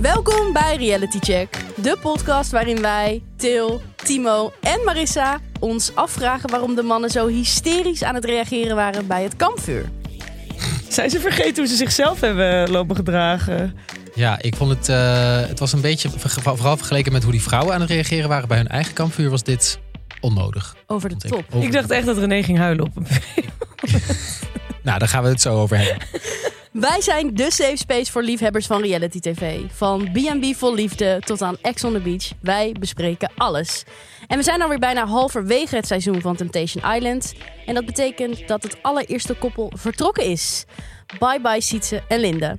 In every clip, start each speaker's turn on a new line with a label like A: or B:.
A: Welkom bij Reality Check, de podcast waarin wij, Til, Timo en Marissa ons afvragen waarom de mannen zo hysterisch aan het reageren waren bij het kampvuur.
B: Zijn ze vergeten hoe ze zichzelf hebben lopen gedragen?
C: Ja, ik vond het. eh, het was een beetje. ver- Vooral vergeleken met hoe die vrouwen aan het reageren waren bij hun eigen kampvuur, was dit onnodig.
A: Over de
C: vond
A: top.
C: Over-
B: Ik dacht echt dat René ging huilen op een
C: Nou, daar gaan we het zo over hebben.
A: Wij zijn de safe space voor liefhebbers van reality tv. Van B&B vol liefde tot aan Ex on the Beach. Wij bespreken alles. En we zijn alweer bijna halverwege het seizoen van Temptation Island. En dat betekent dat het allereerste koppel vertrokken is. Bye bye Sietse en Linde.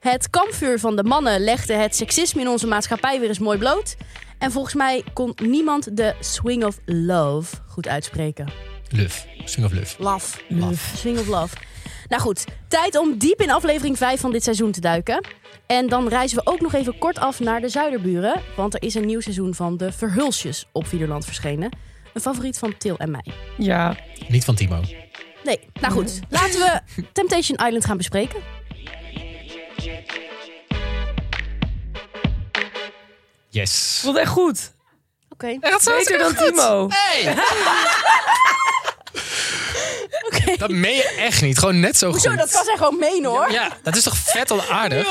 A: Het kampvuur van de mannen legde het seksisme in onze maatschappij weer eens mooi bloot. En volgens mij kon niemand de swing of love goed uitspreken.
C: Luf. Swing of Luf.
A: Love.
B: Love.
A: Swing of love. Nou goed, tijd om diep in aflevering 5 van dit seizoen te duiken. En dan reizen we ook nog even kort af naar de Zuiderburen. Want er is een nieuw seizoen van de Verhulsjes op Videoland verschenen. Een favoriet van Til en mij.
B: Ja,
C: Niet van Timo.
A: Nee, nou goed. Laten we Temptation Island gaan bespreken.
C: Yes.
B: vond echt goed.
A: Oké.
C: Dat
B: Beter dan Timo.
C: Hey!
A: Oké.
C: Dat meen je echt niet. Gewoon net zo goed.
A: Zo, dat kan zij gewoon meen hoor.
C: Ja, dat is toch vet al aardig?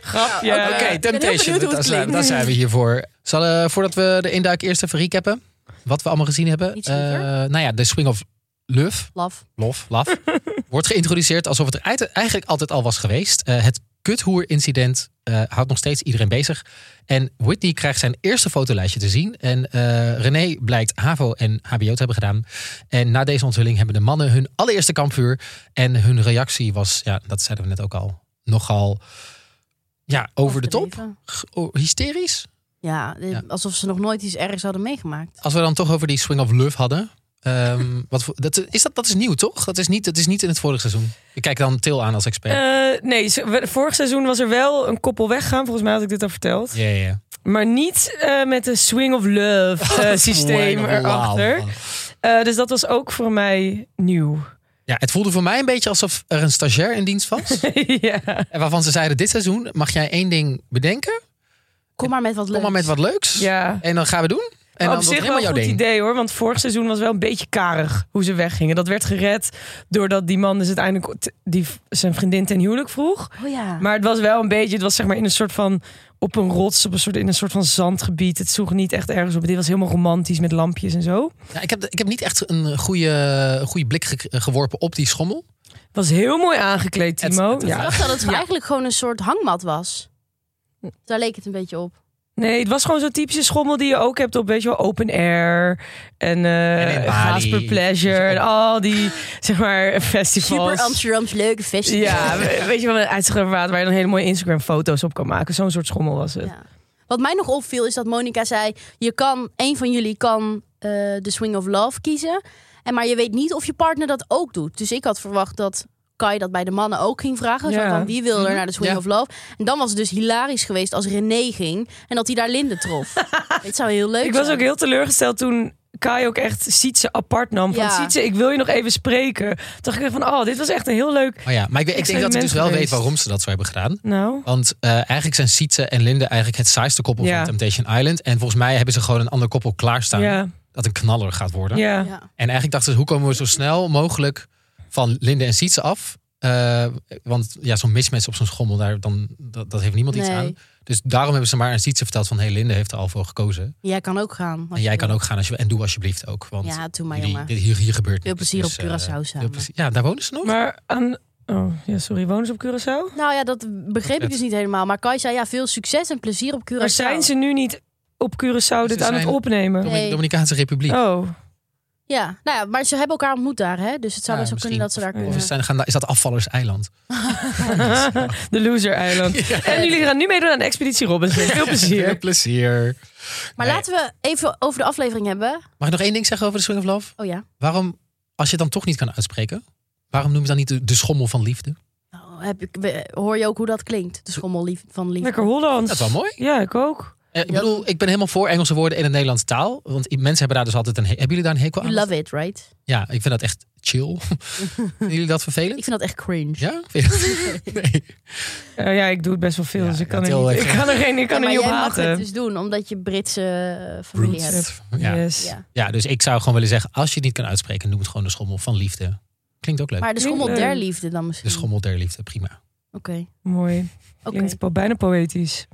B: Grapje.
C: Oké,
A: heel
C: Temptation.
A: benieuwd hoe het
C: Daar zijn,
A: klinkt.
C: daar zijn we hiervoor. Zal, eh, voordat we de induik eerst even recappen. Wat we allemaal gezien hebben.
A: Iets liever.
C: Eh, nou ja, de Swing of Luf.
A: Love.
C: lof, laf, wordt geïntroduceerd alsof het er uit- eigenlijk altijd al was geweest. Eh, het kuthoer-incident eh, houdt nog steeds iedereen bezig. En Whitney krijgt zijn eerste fotolijstje te zien. En eh, René blijkt HAVO en HBO te hebben gedaan. En na deze onthulling hebben de mannen hun allereerste kampvuur. En hun reactie was, ja, dat zeiden we net ook al, nogal ja, over de top.
A: Overdreven.
C: G- o- Hysterisch.
A: Ja, eh,
C: Ja.
A: alsof ze nog nooit iets ergs hadden meegemaakt.
C: Als we dan toch over die swing of love hadden. ehm, wat, voor- dat, is dat, dat is nieuw, toch? Dat is, niet, dat is niet in het vorige seizoen. Ik kijk dan Til aan als expert.
B: Eh, nee, ze- we- vorig seizoen was er wel een koppel weggaan. Volgens mij had ik dit al verteld.
C: Ja, ja, ja.
B: Maar niet eh, met een swing of
C: Oh,
B: love eh, systeem
C: Wauw.
B: erachter. Eh, dus dat was ook voor mij nieuw.
C: Ja, het voelde voor mij een beetje alsof er een stagiair in dienst was.
B: ja.
C: en waarvan ze zeiden, dit seizoen mag jij één ding bedenken.
A: Kom maar met wat
C: Kom
A: leuks.
C: maar met wat leuks.
B: ja.
C: En dan gaan we doen. En
B: Maar
C: dan
B: op
C: wordt
B: zich wel
C: helemaal
B: een
C: jouw
B: goed
C: ding.
B: idee hoor. Want vorig seizoen was wel een beetje karig hoe ze weggingen. Dat werd gered doordat die man dus uiteindelijk t- die, v- zijn vriendin ten huwelijk vroeg.
A: Oh ja.
B: Maar het was wel een beetje, het was zeg maar in een soort van op een rots, op een soort, in een soort van zandgebied. Het sloeg niet echt ergens op. Dit was helemaal romantisch met lampjes en zo.
C: Ja, ik, heb, ik heb niet echt een goede, een goede blik ge- geworpen op die schommel.
B: Was heel mooi aangekleed,
C: Het-
B: Timo.
C: het-
A: Ik
B: ja.
A: dacht dat het
B: Ja.
A: eigenlijk gewoon een soort hangmat was. Daar leek het een beetje op.
B: Nee, het was gewoon zo'n typische schommel die je ook hebt op, weet je wel, open air en,
C: En in
B: eh
C: Bali.
B: Gaas per Pleasure en al die, zeg maar, festivals.
A: Super Amsterdams leuke festival.
B: Ja, we- weet je wel, een uitzichtgeverwaard waar je dan hele mooie Instagram-foto's op kan maken. Zo'n soort schommel was het.
A: Ja. Wat mij nog opviel is dat Monica zei: je kan, een van jullie kan eh, de Swing of Love kiezen. En maar je weet niet of je partner dat ook doet. Dus ik had verwacht dat Kai dat bij de mannen ook ging vragen. Zo
B: Ja.
A: van, wie wil er naar de Swing
C: Mhm. Ja.
A: of Love? En dan was het dus hilarisch geweest als René ging en dat hij daar Linde trof. Dit zou heel leuk
B: Ik was
A: zijn.
B: ook heel teleurgesteld toen Kai ook echt Sietse apart nam. Van
A: Ja.
B: Sietse, ik wil je nog even spreken. Toen dacht ik echt van, oh, dit was echt een heel leuk...
C: Oh ja, maar ik, weet- ik denk dat ik dus wel
B: Experiment
C: weet
B: geweest.
C: waarom ze dat zo hebben gedaan.
B: Nou,
C: Want eh, eigenlijk zijn Sietse en Linde eigenlijk het saaiste koppel
B: Ja.
C: van Temptation Island. En volgens mij hebben ze gewoon een ander koppel klaarstaan
B: ja,
C: dat een knaller gaat worden.
B: ja.
A: Ja.
C: En eigenlijk dachten ze, hoe komen we zo snel mogelijk van Linde en Sietse af? Eh, want ja, zo'n mismatch op zo'n schommel, daar, dan, dat, dat heeft niemand iets
A: Nee.
C: aan. Dus daarom hebben ze maar aan Sietse verteld van... hey, Linde heeft er al voor gekozen.
A: Jij kan ook gaan. als
C: En
A: je
C: jij
A: wil.
C: kan ook gaan als je, en doe alsjeblieft ook. Want
A: Ja, doe maar
C: jullie-
A: jongen.
C: dit- hier, hier gebeurt
A: Veel
C: niks.
A: plezier op
C: eh,
A: Curaçao
C: veel
A: samen.
C: plezier- Ja, daar wonen ze nog.
B: Maar aan... Oh, ja, sorry, wonen ze op Curaçao?
A: Nou ja, dat begreep ik dus niet helemaal. Maar Kai zei ja, veel succes en plezier op Curaçao.
B: Maar zijn ze nu niet op Curaçao dit aan
C: zijn-
B: het opnemen?
C: Domin-
A: Nee.
C: Dominicaanse Republiek.
B: Oh,
A: Ja, nou ja, maar ze hebben elkaar ontmoet daar, hè? Dus het zou
C: Ja,
A: best wel kunnen dat ze daar
B: misschien.
C: Of
A: kunnen.
C: is, zijn, gaan, daar- is dat afvallerseiland?
B: de Loser Island. En jullie gaan nu meedoen aan Expeditie Robinson. Veel plezier.
C: Veel plezier.
A: Maar
C: Nee.
A: laten we even over de aflevering hebben.
C: Mag ik nog één ding zeggen over de Swing of Love?
A: Oh ja.
C: Waarom, als je het dan toch niet kan uitspreken... waarom noem je dan niet de, de schommel van liefde?
A: Nou, heb ik, we- hoor je ook hoe dat klinkt? De schommel lief, van lief.
B: Lekker Hollands.
C: Dat is wel mooi.
B: Ja, ik ook.
C: Eh, ik bedoel, ik ben helemaal voor Engelse woorden in het Nederlandse taal. Want i- mensen hebben daar dus altijd een... he- Hebben jullie daar een hekel
A: You
C: aan?
A: love it, right?
C: Ja, ik vind dat echt chill. Vinden jullie dat vervelend?
A: Ik vind dat echt cringe.
C: Ja? Vind je dat? Nee.
B: Eh, ja, ik doe het best wel veel,
C: Ja,
B: dus ik
C: ja,
B: kan,
C: Til
B: er, niet,
C: heeft-
B: ik kan er geen, ik kan
A: Ja, maar
B: er niet op
A: jij mag het
B: haten.
A: dus doen, omdat je Britse eh, familie
C: Roots.
A: hebt.
C: Ja.
B: Yes.
A: Ja.
C: ja, dus ik zou gewoon willen zeggen... Als je het niet kan uitspreken, noem het gewoon de schommel van liefde. Klinkt ook leuk.
A: Maar de schommel
B: Leuk.
A: der liefde dan
C: De
A: misschien.
C: schommel der liefde, prima.
A: Oké.
B: Mooi.
A: Oké.
B: Klinkt po- bijna poëtisch.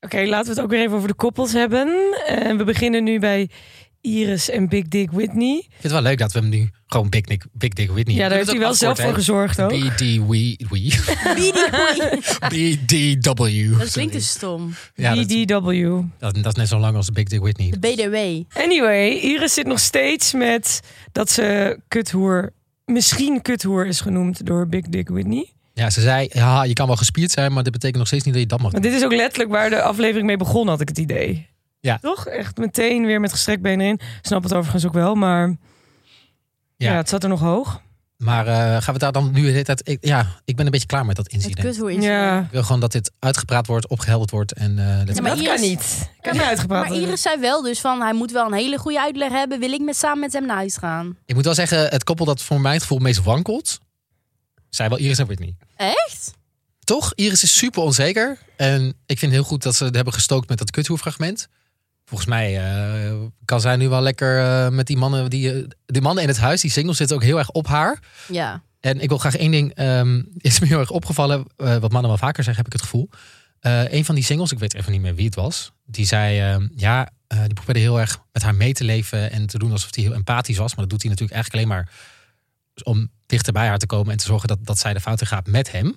B: Oké, laten we het ook weer even over de koppels hebben. En we beginnen nu bij Iris en Big Dick Whitney.
C: Ik vind het wel leuk dat we hem nu gewoon Big, Nick, Big Dick Whitney...
B: Ja, daar heeft hij wel zelf voor gezorgd ook.
C: BD we BDW.
A: Dat klinkt dus stom.
C: Ja, dat,
B: BDW.
C: dat, dat is net zo lang als Big Dick Whitney.
A: De BDW.
B: Anyway, Iris zit nog steeds met dat ze kuthoer, misschien kuthoer is genoemd door Big Dick Whitney.
C: Ja, ze zei, ja, je kan wel gespierd zijn, maar dat betekent nog steeds niet dat je dat mag.
B: Maar dit is ook letterlijk waar de aflevering mee begon, had ik het idee.
C: Ja.
B: Toch? Echt meteen weer met gestrekt been in. Snap het overigens ook wel, maar ja,
C: Ja.
B: het zat er nog hoog.
C: Maar eh, gaan we daar dan nu de hele tijd... Ik, ja, ik ben een beetje klaar met dat
A: Het
C: incident.
A: kuthoer is.
B: Ja,
C: Ik wil gewoon dat dit uitgepraat wordt, opgehelderd wordt. En, eh, let's
A: Ja,
C: go.
A: maar
B: dat
A: Iris-
B: kan niet. Kan
A: Ja,
B: niet uitgepraat
A: Maar Iris zei wel dus van, hij moet wel een hele goede uitleg hebben. Wil ik met, samen met hem naar huis gaan?
C: Ik moet wel zeggen, het koppel dat voor mijn gevoel het meest wankelt... zijn wel Iris en Whitney.
A: Echt?
C: Toch? Iris is super onzeker. En ik vind heel goed dat ze het hebben gestookt met dat kuthoefragment. Volgens mij eh, kan zij nu wel lekker eh, met die mannen, die, eh, die mannen in het huis, die singles zitten ook heel erg op haar.
A: Ja.
C: En ik wil graag één ding, ehm, is me heel erg opgevallen, eh, wat mannen wel vaker zeggen, heb ik het gevoel. Eh, een van die singles, ik weet even niet meer wie het was, die zei, ehm, ja, eh, die probeerde heel erg met haar mee te leven en te doen alsof hij heel empathisch was. Maar dat doet hij natuurlijk eigenlijk alleen maar om dichter bij haar te komen en te zorgen dat, dat zij de fouten gaat met hem.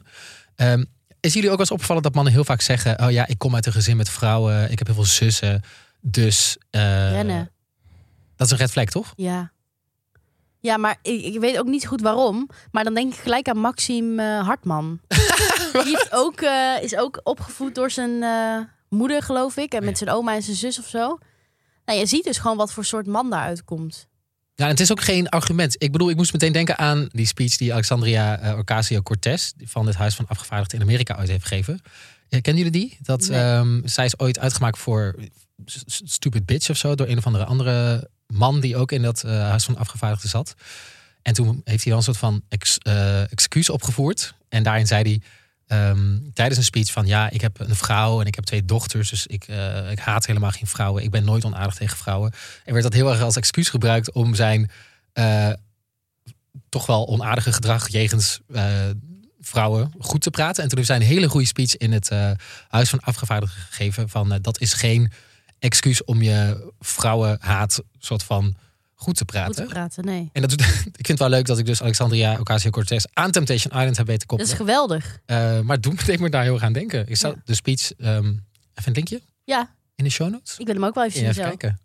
C: Ehm, is jullie ook wel eens opgevallen dat mannen heel vaak zeggen, oh ja, ik kom uit een gezin met vrouwen, ik heb heel veel zussen, dus... eh,
A: Rennen.
C: Dat is een red flag, toch?
A: Ja. Ja, maar ik, ik weet ook niet goed waarom. Maar dan denk ik gelijk aan Maxime eh, Hartman. Die heeft ook, eh, is ook opgevoed door zijn eh, moeder, geloof ik. En met zijn oma en zijn zus of zo. Nou, je ziet dus gewoon wat voor soort man daaruit komt.
C: Ja, en het is ook geen argument. Ik bedoel, ik moest meteen denken aan die speech die Alexandria eh, Ocasio-Cortez van het Huis van Afgevaardigden in Amerika ooit heeft gegeven. Eh, kennen jullie die? Dat
A: Nee.
C: ehm, zij is ooit uitgemaakt voor s- s- stupid bitch of zo door een of andere andere man die ook in dat eh, Huis van Afgevaardigden zat. En toen heeft hij dan een soort van ex- eh, excuus opgevoerd. En daarin zei hij ehm, tijdens een speech van ja, ik heb een vrouw en ik heb twee dochters, dus ik, eh, ik haat helemaal geen vrouwen. Ik ben nooit onaardig tegen vrouwen. En werd dat heel erg als excuus gebruikt om zijn eh, toch wel onaardige gedrag jegens eh, vrouwen goed te praten. En toen heeft zij een hele goede speech in het eh, Huis van Afgevaardigden gegeven van eh, dat is geen excuus om je vrouwenhaat soort van goed te
A: Goed te
C: praten.
A: praten, nee.
C: En dat, doet- ik vind het wel leuk dat ik dus Alexandria Ocasio-Cortez aan Temptation Island heb weten
A: Dat is
C: koppelen.
A: geweldig.
C: Eh, maar doe meteen maar daar heel erg aan denken. Ik zou
A: Ja.
C: de speech, ehm, even een linkje
A: Ja,
C: in de show notes.
A: ik wil hem ook wel even zien
C: even
A: zo.
C: kijken.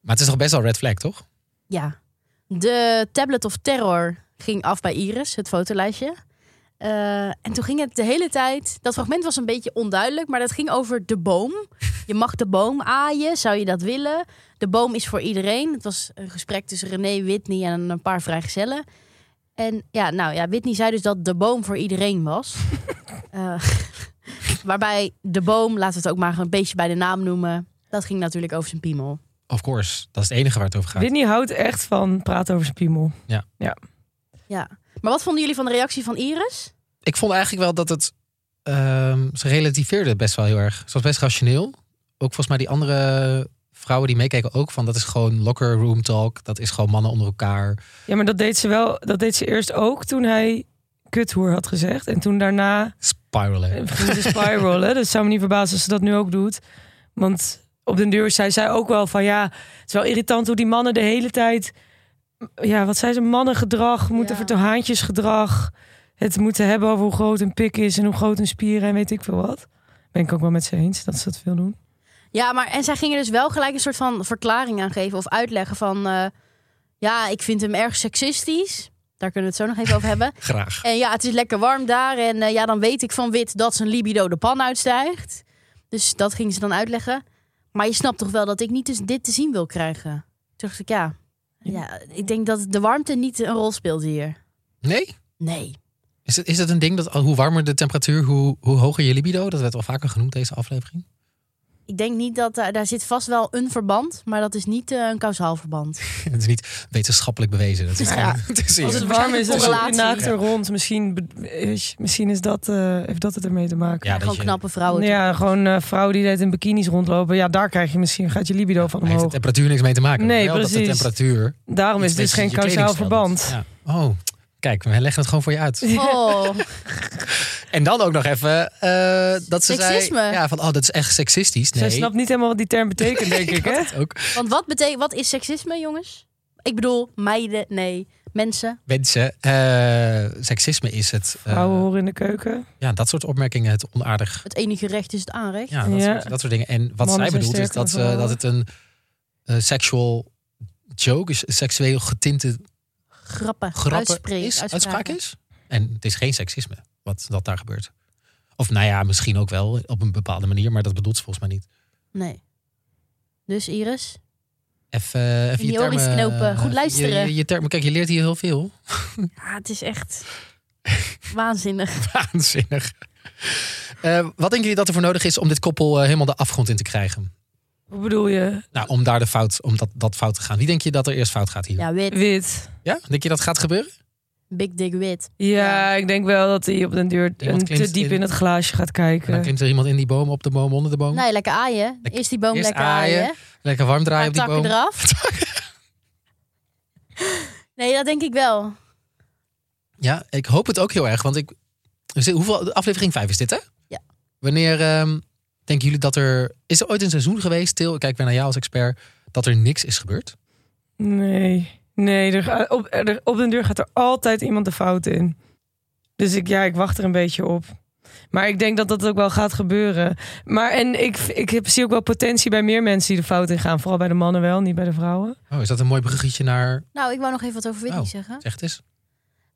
C: Maar het is toch best wel red flag, toch?
A: Ja. De Tablet of Terror ging af bij Iris, het fotolijstje. Eh, en toen ging het de hele tijd. Dat fragment was een beetje onduidelijk, maar dat ging over de boom. Je mag de boom aaien, zou je dat willen? De boom is voor iedereen. Het was een gesprek tussen René, Whitney en een paar vrijgezellen. En ja, nou ja, Whitney zei dus dat de boom voor iedereen was. Eh, waarbij de boom, laten we het ook maar een beetje bij de naam noemen, dat ging natuurlijk over zijn piemel.
C: Of course. Dat is het enige waar het over gaat.
B: Whitney houdt echt van praten over zijn piemel.
A: Ja. Maar wat vonden jullie van de reactie van Iris?
C: Ik vond eigenlijk wel dat het... ehm, ze relativeerde het best wel heel erg. Ze was best rationeel. Ook volgens mij die andere vrouwen die meekeken ook van... dat is gewoon locker room talk. Dat is gewoon mannen onder elkaar.
B: Ja, maar dat deed ze wel. Dat deed ze eerst ook toen hij kuthoer had gezegd. En toen daarna
A: Eh,
C: Spiralen.
B: Ging ze spiralen. Dat zou me niet verbazen als ze dat nu ook doet. Want op den deur zei zij ook wel van ja, het is wel irritant hoe die mannen de hele tijd. Ja, wat zei ze? Mannengedrag moeten
A: Ja.
B: voor haantjesgedrag. Het moeten hebben over hoe groot een pik is en hoe groot een spier en weet ik veel wat. Ben ik ook wel met ze eens dat ze dat veel doen.
A: Ja, maar en zij gingen dus wel gelijk een soort van verklaring aan geven of uitleggen van... eh, ja, ik vind hem erg seksistisch. Daar kunnen we het zo nog even over hebben.
C: Graag.
A: En ja, het is lekker warm daar. En eh, ja, dan weet ik van wit dat zijn libido de pan uitstijgt. Dus dat gingen ze dan uitleggen. Maar je snapt toch wel dat ik niet dus dit te zien wil krijgen? Toen dacht ik, ja. ja, ik denk dat de warmte niet een rol speelt hier.
C: Nee?
A: Nee.
C: Is het, is het een ding dat al- hoe warmer de temperatuur, hoe, hoe hoger je libido? Dat werd al vaker genoemd deze aflevering.
A: Ik denk niet dat daar, daar zit vast wel een verband, maar dat is niet eh, een kausaal verband.
C: het is niet wetenschappelijk bewezen. Dat is
A: Ja.
C: gewoon- het is
B: Als
C: hier.
B: het warm is,
A: Waarschijnlijk
B: dan loop je
A: correlatie.
B: naakt
C: Ja.
B: er rond. Misschien, be- weet je, misschien is dat, eh, heeft dat het ermee te maken.
C: Ja, dat
A: Gewoon
C: je-
A: knappe vrouwen.
B: Ja, gewoon eh, vrouwen die de hele tijd in bikinis rondlopen. Ja, daar krijg je misschien, gaat je libido van
C: Daar heeft de
B: omhoog.
C: temperatuur niks mee te maken.
B: Nee,
C: Wel dat de
B: precies.
C: temperatuur...
B: Daarom is
C: iets
B: het dus
C: met
B: geen
C: je
B: kausaal
C: kledingstijl
B: verband.
C: doet. Ja. Oh, kijk, we leggen het gewoon voor je uit.
A: Oh,
C: En dan ook nog even eh, dat ze
A: Seksisme.
C: zei... Ja, van oh, dat is echt seksistisch. Nee.
B: Zij snapt niet helemaal wat die term betekent, denk ik. Hè?
C: het ook.
A: want wat, betekent, wat is seksisme, jongens? Ik bedoel, meiden, nee, mensen.
C: Mensen, eh, seksisme is het... eh,
B: Vrouwen horen in de keuken.
C: ja, dat soort opmerkingen, het onaardig.
A: Het enige recht is het aanrecht.
C: Ja, dat,
B: Ja.
C: Soort, dat soort dingen. En wat
B: Mannen zijn
C: zij bedoelt is
B: sterker
C: dat,
B: dan
C: ze, dat
B: vrouwen.
C: het een eh, sexual joke is, seksueel getinte
A: Grappen,
C: grappen
A: uitspreken,
C: is, uitspraak
A: uitspraken.
C: is. En het is geen seksisme wat dat daar gebeurt. Of nou ja, misschien ook wel op een bepaalde manier, maar dat bedoelt ze volgens mij niet.
A: Nee. Dus Iris,
C: Even, eh, even
A: In je oren iets
C: termen,
A: knopen.
C: eh,
A: Goed
C: je-
A: luisteren.
C: Je, je, termen, kijk, je leert hier heel veel.
A: ja, het is echt waanzinnig.
C: Waanzinnig. Eh, wat denken jullie dat er voor nodig is om dit koppel eh, helemaal de afgrond in te krijgen?
B: Hoe bedoel je?
C: Nou, om daar de fout, om dat, dat fout te gaan. Wie denk je dat er eerst fout gaat hier? Ja.
A: Ja, wit.
B: Wit.
C: Denk je dat gaat gebeuren?
A: Big dick wit.
B: Ja, ik denk wel dat hij op den duur
C: Iemand
B: een te
C: klimt
B: diep
C: in-
B: in het glaasje gaat
C: En dan
B: kijken.
C: klimt er iemand in die boom, op de boom, onder de boom.
A: Nee, lekker aaien. Eerst die boom
C: eerst
A: lekker
C: aaien,
A: aaien.
C: Lekker warm draaien
A: Paar
C: op die
A: takken
C: boom.
A: eraf. Nee, dat denk ik wel.
C: Ja, ik hoop het ook heel erg. Want ik. er zit- Hoeveel, aflevering 5 is dit, hè?
A: Ja.
C: Wanneer ehm, denken jullie dat er. Is er ooit een seizoen geweest, Til? Ik Kijk weer naar jou als expert. Dat er niks is gebeurd.
B: Nee. Nee, er, ga- op, er, op den duur gaat er altijd iemand de fout in. Dus ik, ja, ik wacht er een beetje op. Maar ik denk dat dat ook wel gaat gebeuren. Maar en ik, ik heb, zie ook wel potentie bij meer mensen die de fout in gaan. Vooral bij de mannen wel, niet bij de vrouwen.
C: Oh, is dat een mooi bruggetje naar.
A: Nou, ik wou nog even wat over Whitney
C: Oh.
A: zeggen.
C: Zeg het eens.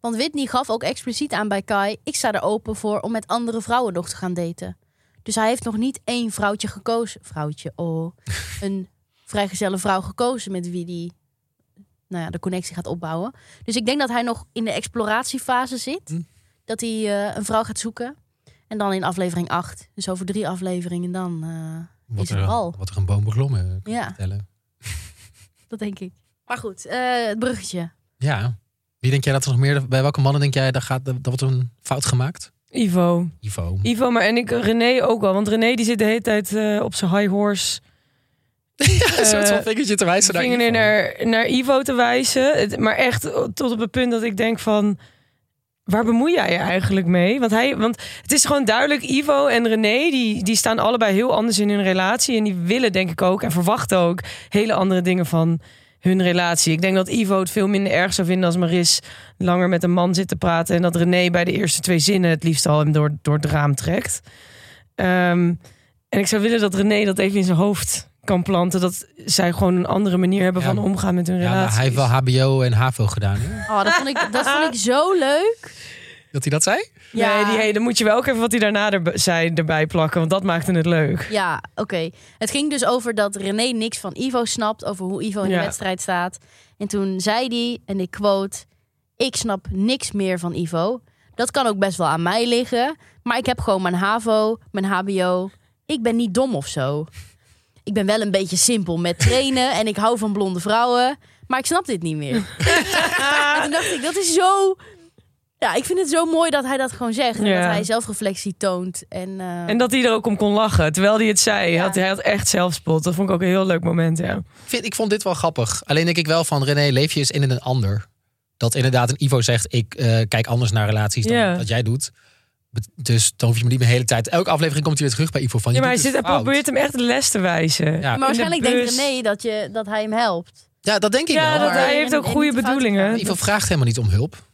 A: Want Whitney gaf ook expliciet aan bij Kai... ik sta er open voor om met andere vrouwen nog te gaan daten. Dus hij heeft nog niet één vrouwtje gekozen. Vrouwtje, oh. een vrijgezelle vrouw gekozen met wie die... nou ja, de connectie gaat opbouwen. Dus ik denk dat hij nog in de exploratiefase zit.
C: Hm.
A: Dat hij eh, een vrouw gaat zoeken. En dan in aflevering 8. Dus over drie afleveringen dan. eh,
C: Wat
A: Is het
C: er,
A: al?
C: wat er een boom beklommen kan
A: Ja.
C: vertellen.
A: dat denk ik. Maar goed, eh, het bruggetje.
C: Ja. Wie denk jij dat er nog meer. Bij welke mannen denk jij dat, gaat, dat wordt een fout gemaakt?
B: Ivo.
C: Ivo.
B: Ivo, maar en ik René ook wel. Want René die zit de hele tijd eh, op zijn high horse.
C: een soort van
B: Eh,
C: vingertje te wijzen naar
B: vinger
C: Ivo.
B: naar, naar Ivo te wijzen. Het- maar echt tot op het punt dat ik denk van... Waar bemoei jij je eigenlijk mee? Want, hij, want het is gewoon duidelijk, Ivo en René... Die, die staan allebei heel anders in hun relatie. En die willen denk ik ook en verwachten ook... hele andere dingen van hun relatie. Ik denk dat Ivo het veel minder erg zou vinden... als Maris langer met een man zit te praten... en dat René bij de eerste twee zinnen... het liefst al hem door, door het raam trekt. Ehm, en ik zou willen dat René dat even in zijn hoofd kan planten. Dat zij gewoon een andere manier hebben
C: Ja,
B: van omgaan met hun
C: Ja, maar
B: relatie.
C: hij heeft wel HBO en HAVO gedaan. Hè?
A: Oh, dat, vond ik, dat vond ik zo leuk.
C: Dat hij dat zei?
B: Nee, die, hey, dan moet je wel ook even wat hij daarna er, zei erbij plakken. Want dat maakte het leuk.
A: Ja, oké. Het ging dus over dat René niks van Ivo snapt, over hoe Ivo in de
B: Ja.
A: wedstrijd staat. En toen zei hij, en ik quote, ik snap niks meer van Ivo. Dat kan ook best wel aan mij liggen, maar ik heb gewoon mijn HAVO, mijn HBO. Ik ben niet dom of zo. Ik ben wel een beetje simpel met trainen en ik hou van blonde vrouwen, maar ik snap dit niet meer. en toen dacht ik, dat is zo... Ja, ik vind het zo mooi dat hij dat gewoon zegt. En
B: Ja.
A: dat hij zelfreflectie toont. En, eh,
B: En dat hij er ook om kon lachen. Terwijl hij het zei.
A: Ja.
B: Hij, had, hij had echt zelfspot. Dat vond ik ook een heel leuk moment. Ja.
C: Ik vind, ik vond dit wel grappig. Alleen denk ik wel van René, leef je eens in een ander. Dat inderdaad een Ivo zegt, ik eh, kijk anders naar relaties dan
B: Ja.
C: dat jij doet. Bet- Dus dan hoef je me niet meer de hele tijd. Elke aflevering komt hij weer terug bij Ivo van.
B: Ja,
C: je
B: maar hij,
C: doet
B: zit,
C: het
B: hij
C: fout.
B: probeert hem echt les te wijzen.
C: Ja.
B: Ja,
A: maar waarschijnlijk
B: de
A: denkt
B: bus.
A: René dat, je, dat hij hem helpt.
C: Ja, dat denk ik wel.
B: dat
C: maar
B: hij heeft
A: En-
B: ook
A: en
B: goede
A: niet de fout
B: bedoelingen.
A: maken.
C: Ivo vraagt helemaal niet om hulp.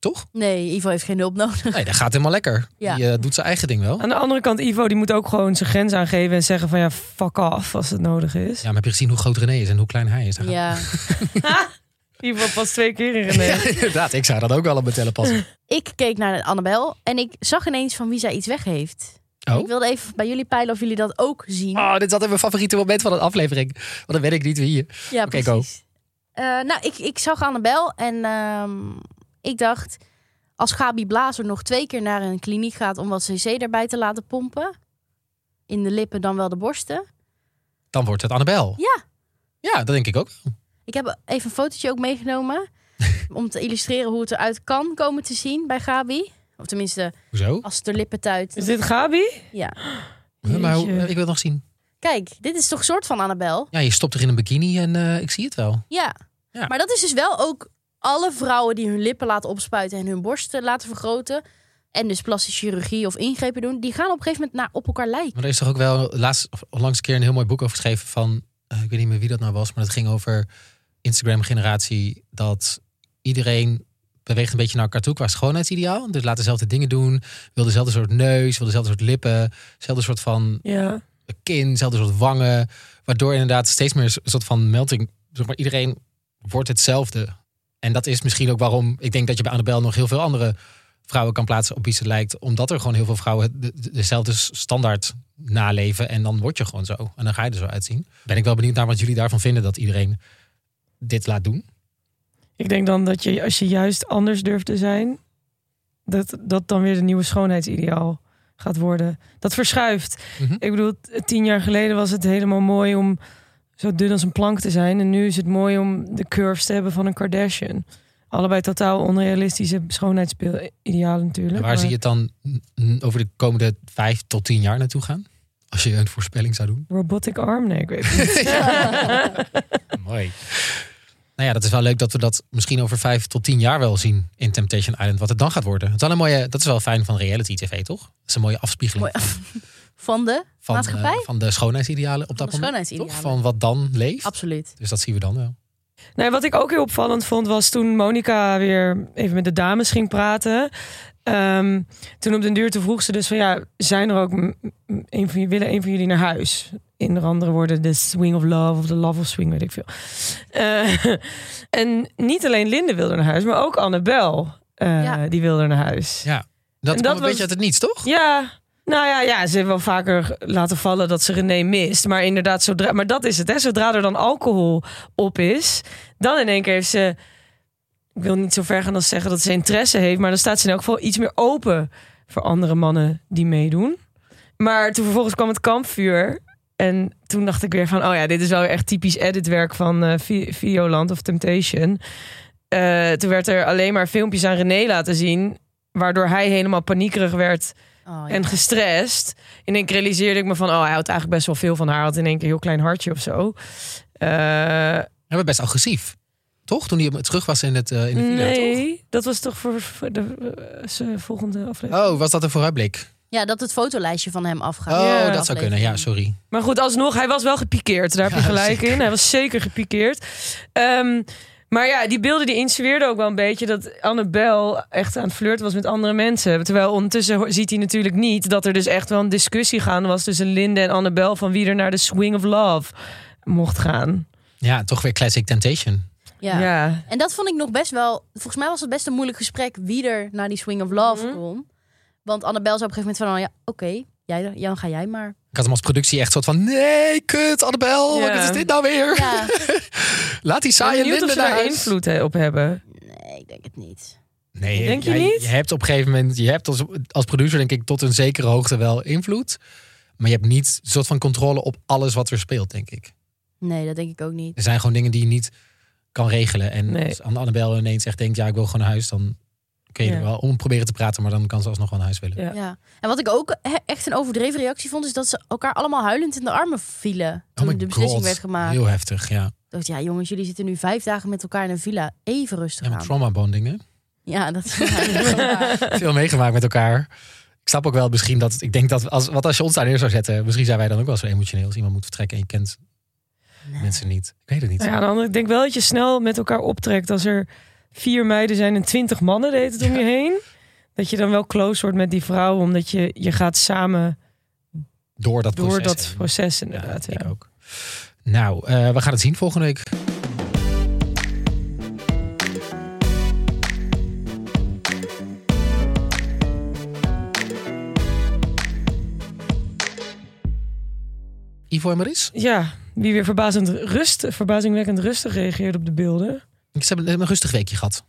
C: Toch?
A: Nee, Ivo heeft geen hulp nodig.
C: Nee, dat gaat helemaal lekker.
A: Ja.
C: Die eh, doet zijn eigen ding wel.
B: Aan de andere kant, Ivo die moet ook gewoon zijn grens aangeven. En zeggen van ja, fuck off als het nodig is.
C: Ja, maar heb je gezien hoe groot René is en hoe klein hij is? Daar gaat-
A: Ja.
B: Ivo pas twee keer in René.
C: Ja, inderdaad, ik zou dat ook wel op mijn tellen passen.
A: Ik keek naar Annabel en ik zag ineens van wie zij iets weg heeft.
C: Oh.
A: Ik wilde even bij jullie peilen of jullie dat ook zien.
C: Oh, dit is altijd mijn favoriete moment van een aflevering. Want dan weet ik niet wie je.
A: ja,
C: oké, go.
A: precies. Eh, nou, ik, ik zag Annabel en ehm, ik dacht... als Gabi Blazer nog twee keer naar een kliniek gaat... om wat cc erbij te laten pompen... in de lippen dan wel de borsten...
C: Dan wordt het Annabel.
A: Ja.
C: Ja, dat denk ik ook.
A: Ik heb even een fotootje ook meegenomen. om te illustreren hoe het eruit kan komen te zien bij Gabi. Of tenminste,
C: Hoezo?
A: als het er lippen
B: Is
A: tuit.
B: dit Gabi?
A: Ja.
C: Huh, Maar hoe- eh,
B: Jeetje.
C: ik wil het nog zien.
A: Kijk, dit is toch een soort van Annabel?
C: Ja, je stopt er in een bikini en eh, ik zie het wel.
A: Ja.
C: Ja.
A: Maar dat is dus wel ook alle vrouwen die hun lippen laten opspuiten en hun borsten laten vergroten. En dus plastische chirurgie of ingrepen doen. Die gaan op een gegeven moment naar op elkaar lijken.
C: Maar er is toch ook wel laatst, of onlangs een keer een heel mooi boek over geschreven van, eh, ik weet niet meer wie dat nou was, maar het ging over Instagram-generatie, dat iedereen beweegt een beetje naar elkaar toe qua schoonheidsideaal. Dus laat dezelfde dingen doen, wil dezelfde soort neus, wil dezelfde soort lippen, dezelfde soort van
B: Ja.
C: kin, dezelfde soort wangen, waardoor inderdaad steeds meer een soort van melting, zeg maar iedereen wordt hetzelfde. En dat is misschien ook waarom ik denk dat je bij Annabel nog heel veel andere vrouwen kan plaatsen op wie ze lijkt. Omdat er gewoon heel veel vrouwen de- de- dezelfde s- standaard naleven. En dan word je gewoon zo. En dan ga je er zo uitzien. Ben ik wel benieuwd naar wat jullie daarvan vinden dat iedereen dit laat doen.
B: Ik denk dan dat je, als je juist anders durft te zijn, dat dat dan weer de nieuwe schoonheidsideaal gaat worden. Dat verschuift.
C: Mhm.
B: Ik bedoel, t- tien jaar geleden was het helemaal mooi om zo dun als een plank te zijn. En nu is het mooi om de curves te hebben van een Kardashian. Allebei totaal onrealistische schoonheidsidealen natuurlijk.
C: En waar
B: maar-
C: zie je het dan mm, mm, over de komende vijf tot tien jaar naartoe gaan? Als je een voorspelling zou doen.
B: Robotic arm? Nee, ik weet het niet.
C: Mooi. Nou ja, dat is wel leuk dat we dat misschien over vijf tot tien jaar wel zien in Temptation Island. Wat het dan gaat worden. Het is wel een mooie, dat is wel fijn van reality tv, toch? Dat is een mooie afspiegeling
A: Mooi. Van de
C: van, eh,
A: maatschappij?
C: van de schoonheidsidealen
A: Van
C: op dat
A: de
C: moment.
A: schoonheidsidealen.
C: Toch? Van wat dan leeft.
A: Absoluut.
C: Dus dat zien we dan wel.
B: Nee, Nou, wat ik ook heel opvallend vond was toen Monica weer even met de dames ging praten. Ehm, toen op den duur toen vroeg ze dus van ja, zijn er ook m- m- een van, je- willen een van jullie naar huis? In andere woorden, de swing of love of de love of swing, weet ik veel. Eh, en niet alleen Linde wilde naar huis, maar ook Annabel. eh,
A: Ja.
B: die wilde naar huis.
C: Ja. Dat,
B: En dat
C: kwam een
B: was-
C: beetje uit het niets, toch?
B: Ja, nou ja, ja, ze heeft wel vaker laten vallen dat ze René mist. Maar inderdaad, zodra, maar dat is het. Hè. Zodra er dan alcohol op is, dan in één keer heeft ze... Ik wil niet zo ver gaan als zeggen dat ze interesse heeft. Maar dan staat ze in elk geval iets meer open voor andere mannen die meedoen. Maar toen vervolgens kwam het kampvuur. En toen dacht ik weer van, oh ja, dit is wel echt typisch editwerk van eh, Vi- Videoland of Temptation. Eh, toen werd er alleen maar filmpjes aan René laten zien. Waardoor hij helemaal paniekerig werd
A: Oh, ja.
B: en gestrest. In één keer realiseerde ik me van, oh, hij houdt eigenlijk best wel veel van haar. Hij Had in één keer een heel klein hartje of zo. Eh,
C: Ja, maar best agressief. Toch? Toen hij terug was in, het, eh, in de villa,
B: nee, dat was toch voor, voor de eh, ze- volgende aflevering.
C: toch? Oh, was dat een vooruitblik?
A: ja, dat het fotolijstje van hem
C: Oh,
A: afgaat.
B: Ja.
C: dat zou kunnen. Ja, sorry.
B: Maar goed, alsnog, hij was wel gepikeerd. Daar heb je
C: Ja,
B: gelijk
C: zeker.
B: in. Hij was zeker gepikeerd. Ehm, maar ja, die beelden die insinueerden ook wel een beetje dat Annabel echt aan het flirten was met andere mensen. Terwijl ondertussen ho- ziet hij natuurlijk niet dat er dus echt wel een discussie gaande was tussen Linde en Annabel van wie er naar de swing of love mocht gaan.
C: Ja, toch weer Classic Temptation.
A: Ja.
B: ja.
A: En dat vond ik nog best wel. Volgens mij was het best een moeilijk gesprek wie er naar die Swing of Love
B: Mhm.
A: kon. Want Annabel zei op een gegeven moment van: oh ja, oké, jij, dan ga jij maar.
C: Ik had hem als productie echt soort van... Nee, kut, Annabel.
B: Ja.
C: Wat is dit nou weer?
A: Ja,
C: Laat die
B: Ik ben
C: saaie
B: benieuwd
C: Linde
B: of ze
C: naar
B: daar
C: huis.
B: invloed he- op hebben.
A: nee, ik denk het niet.
C: Nee,
B: Denk je
C: jij-
B: niet?
C: Je hebt op een gegeven moment, je hebt als, als producer denk ik tot een zekere hoogte wel invloed. Maar je hebt niet een soort van controle op alles wat er speelt, denk ik.
A: Nee, dat denk ik ook niet.
C: Er zijn gewoon dingen die je niet kan regelen. En
B: Nee.
C: als Anne- Annabel ineens echt denkt, ja, ik wil gewoon naar huis. Dan kun je
B: Ja.
C: er wel om proberen te praten, maar dan kan ze alsnog wel naar huis willen.
B: Ja.
A: Ja. En wat ik ook he- echt een overdreven reactie vond, is dat ze elkaar allemaal huilend in de armen vielen. Toen
C: Oh my
A: de beslissing
C: God,
A: werd gemaakt. Ik
C: Heel heftig, ja.
A: dacht, ja, jongens, jullie zitten nu vijf dagen met elkaar in een villa. Even rustig
C: Ja, met
A: aan.
C: trauma bondingen.
A: Ja, dat is eigenlijk wel waar.
C: Veel meegemaakt met elkaar. Ik snap ook wel misschien dat, ik denk dat, als, wat als je ons daar neer zou zetten, misschien zijn wij dan ook wel zo emotioneel als iemand moet vertrekken en je kent mensen niet. Ik weet het niet.
B: Nou Ja, aan de andere- ik denk wel dat je snel met elkaar optrekt als er vier meiden zijn en twintig mannen deed het om je heen. Dat je dan wel close wordt met die vrouwen, omdat je, je gaat samen
C: Door dat
B: door
C: proces.
B: dat
C: heen.
B: proces
C: Ja,
B: inderdaad.
C: ik
B: Ja.
C: ook. Nou, eh, we gaan het zien volgende week. Ivo en Maris?
B: Ja, wie weer verbazend rust, verbazingwekkend rustig reageert op de beelden.
C: Ze hebben een rustig weekje gehad.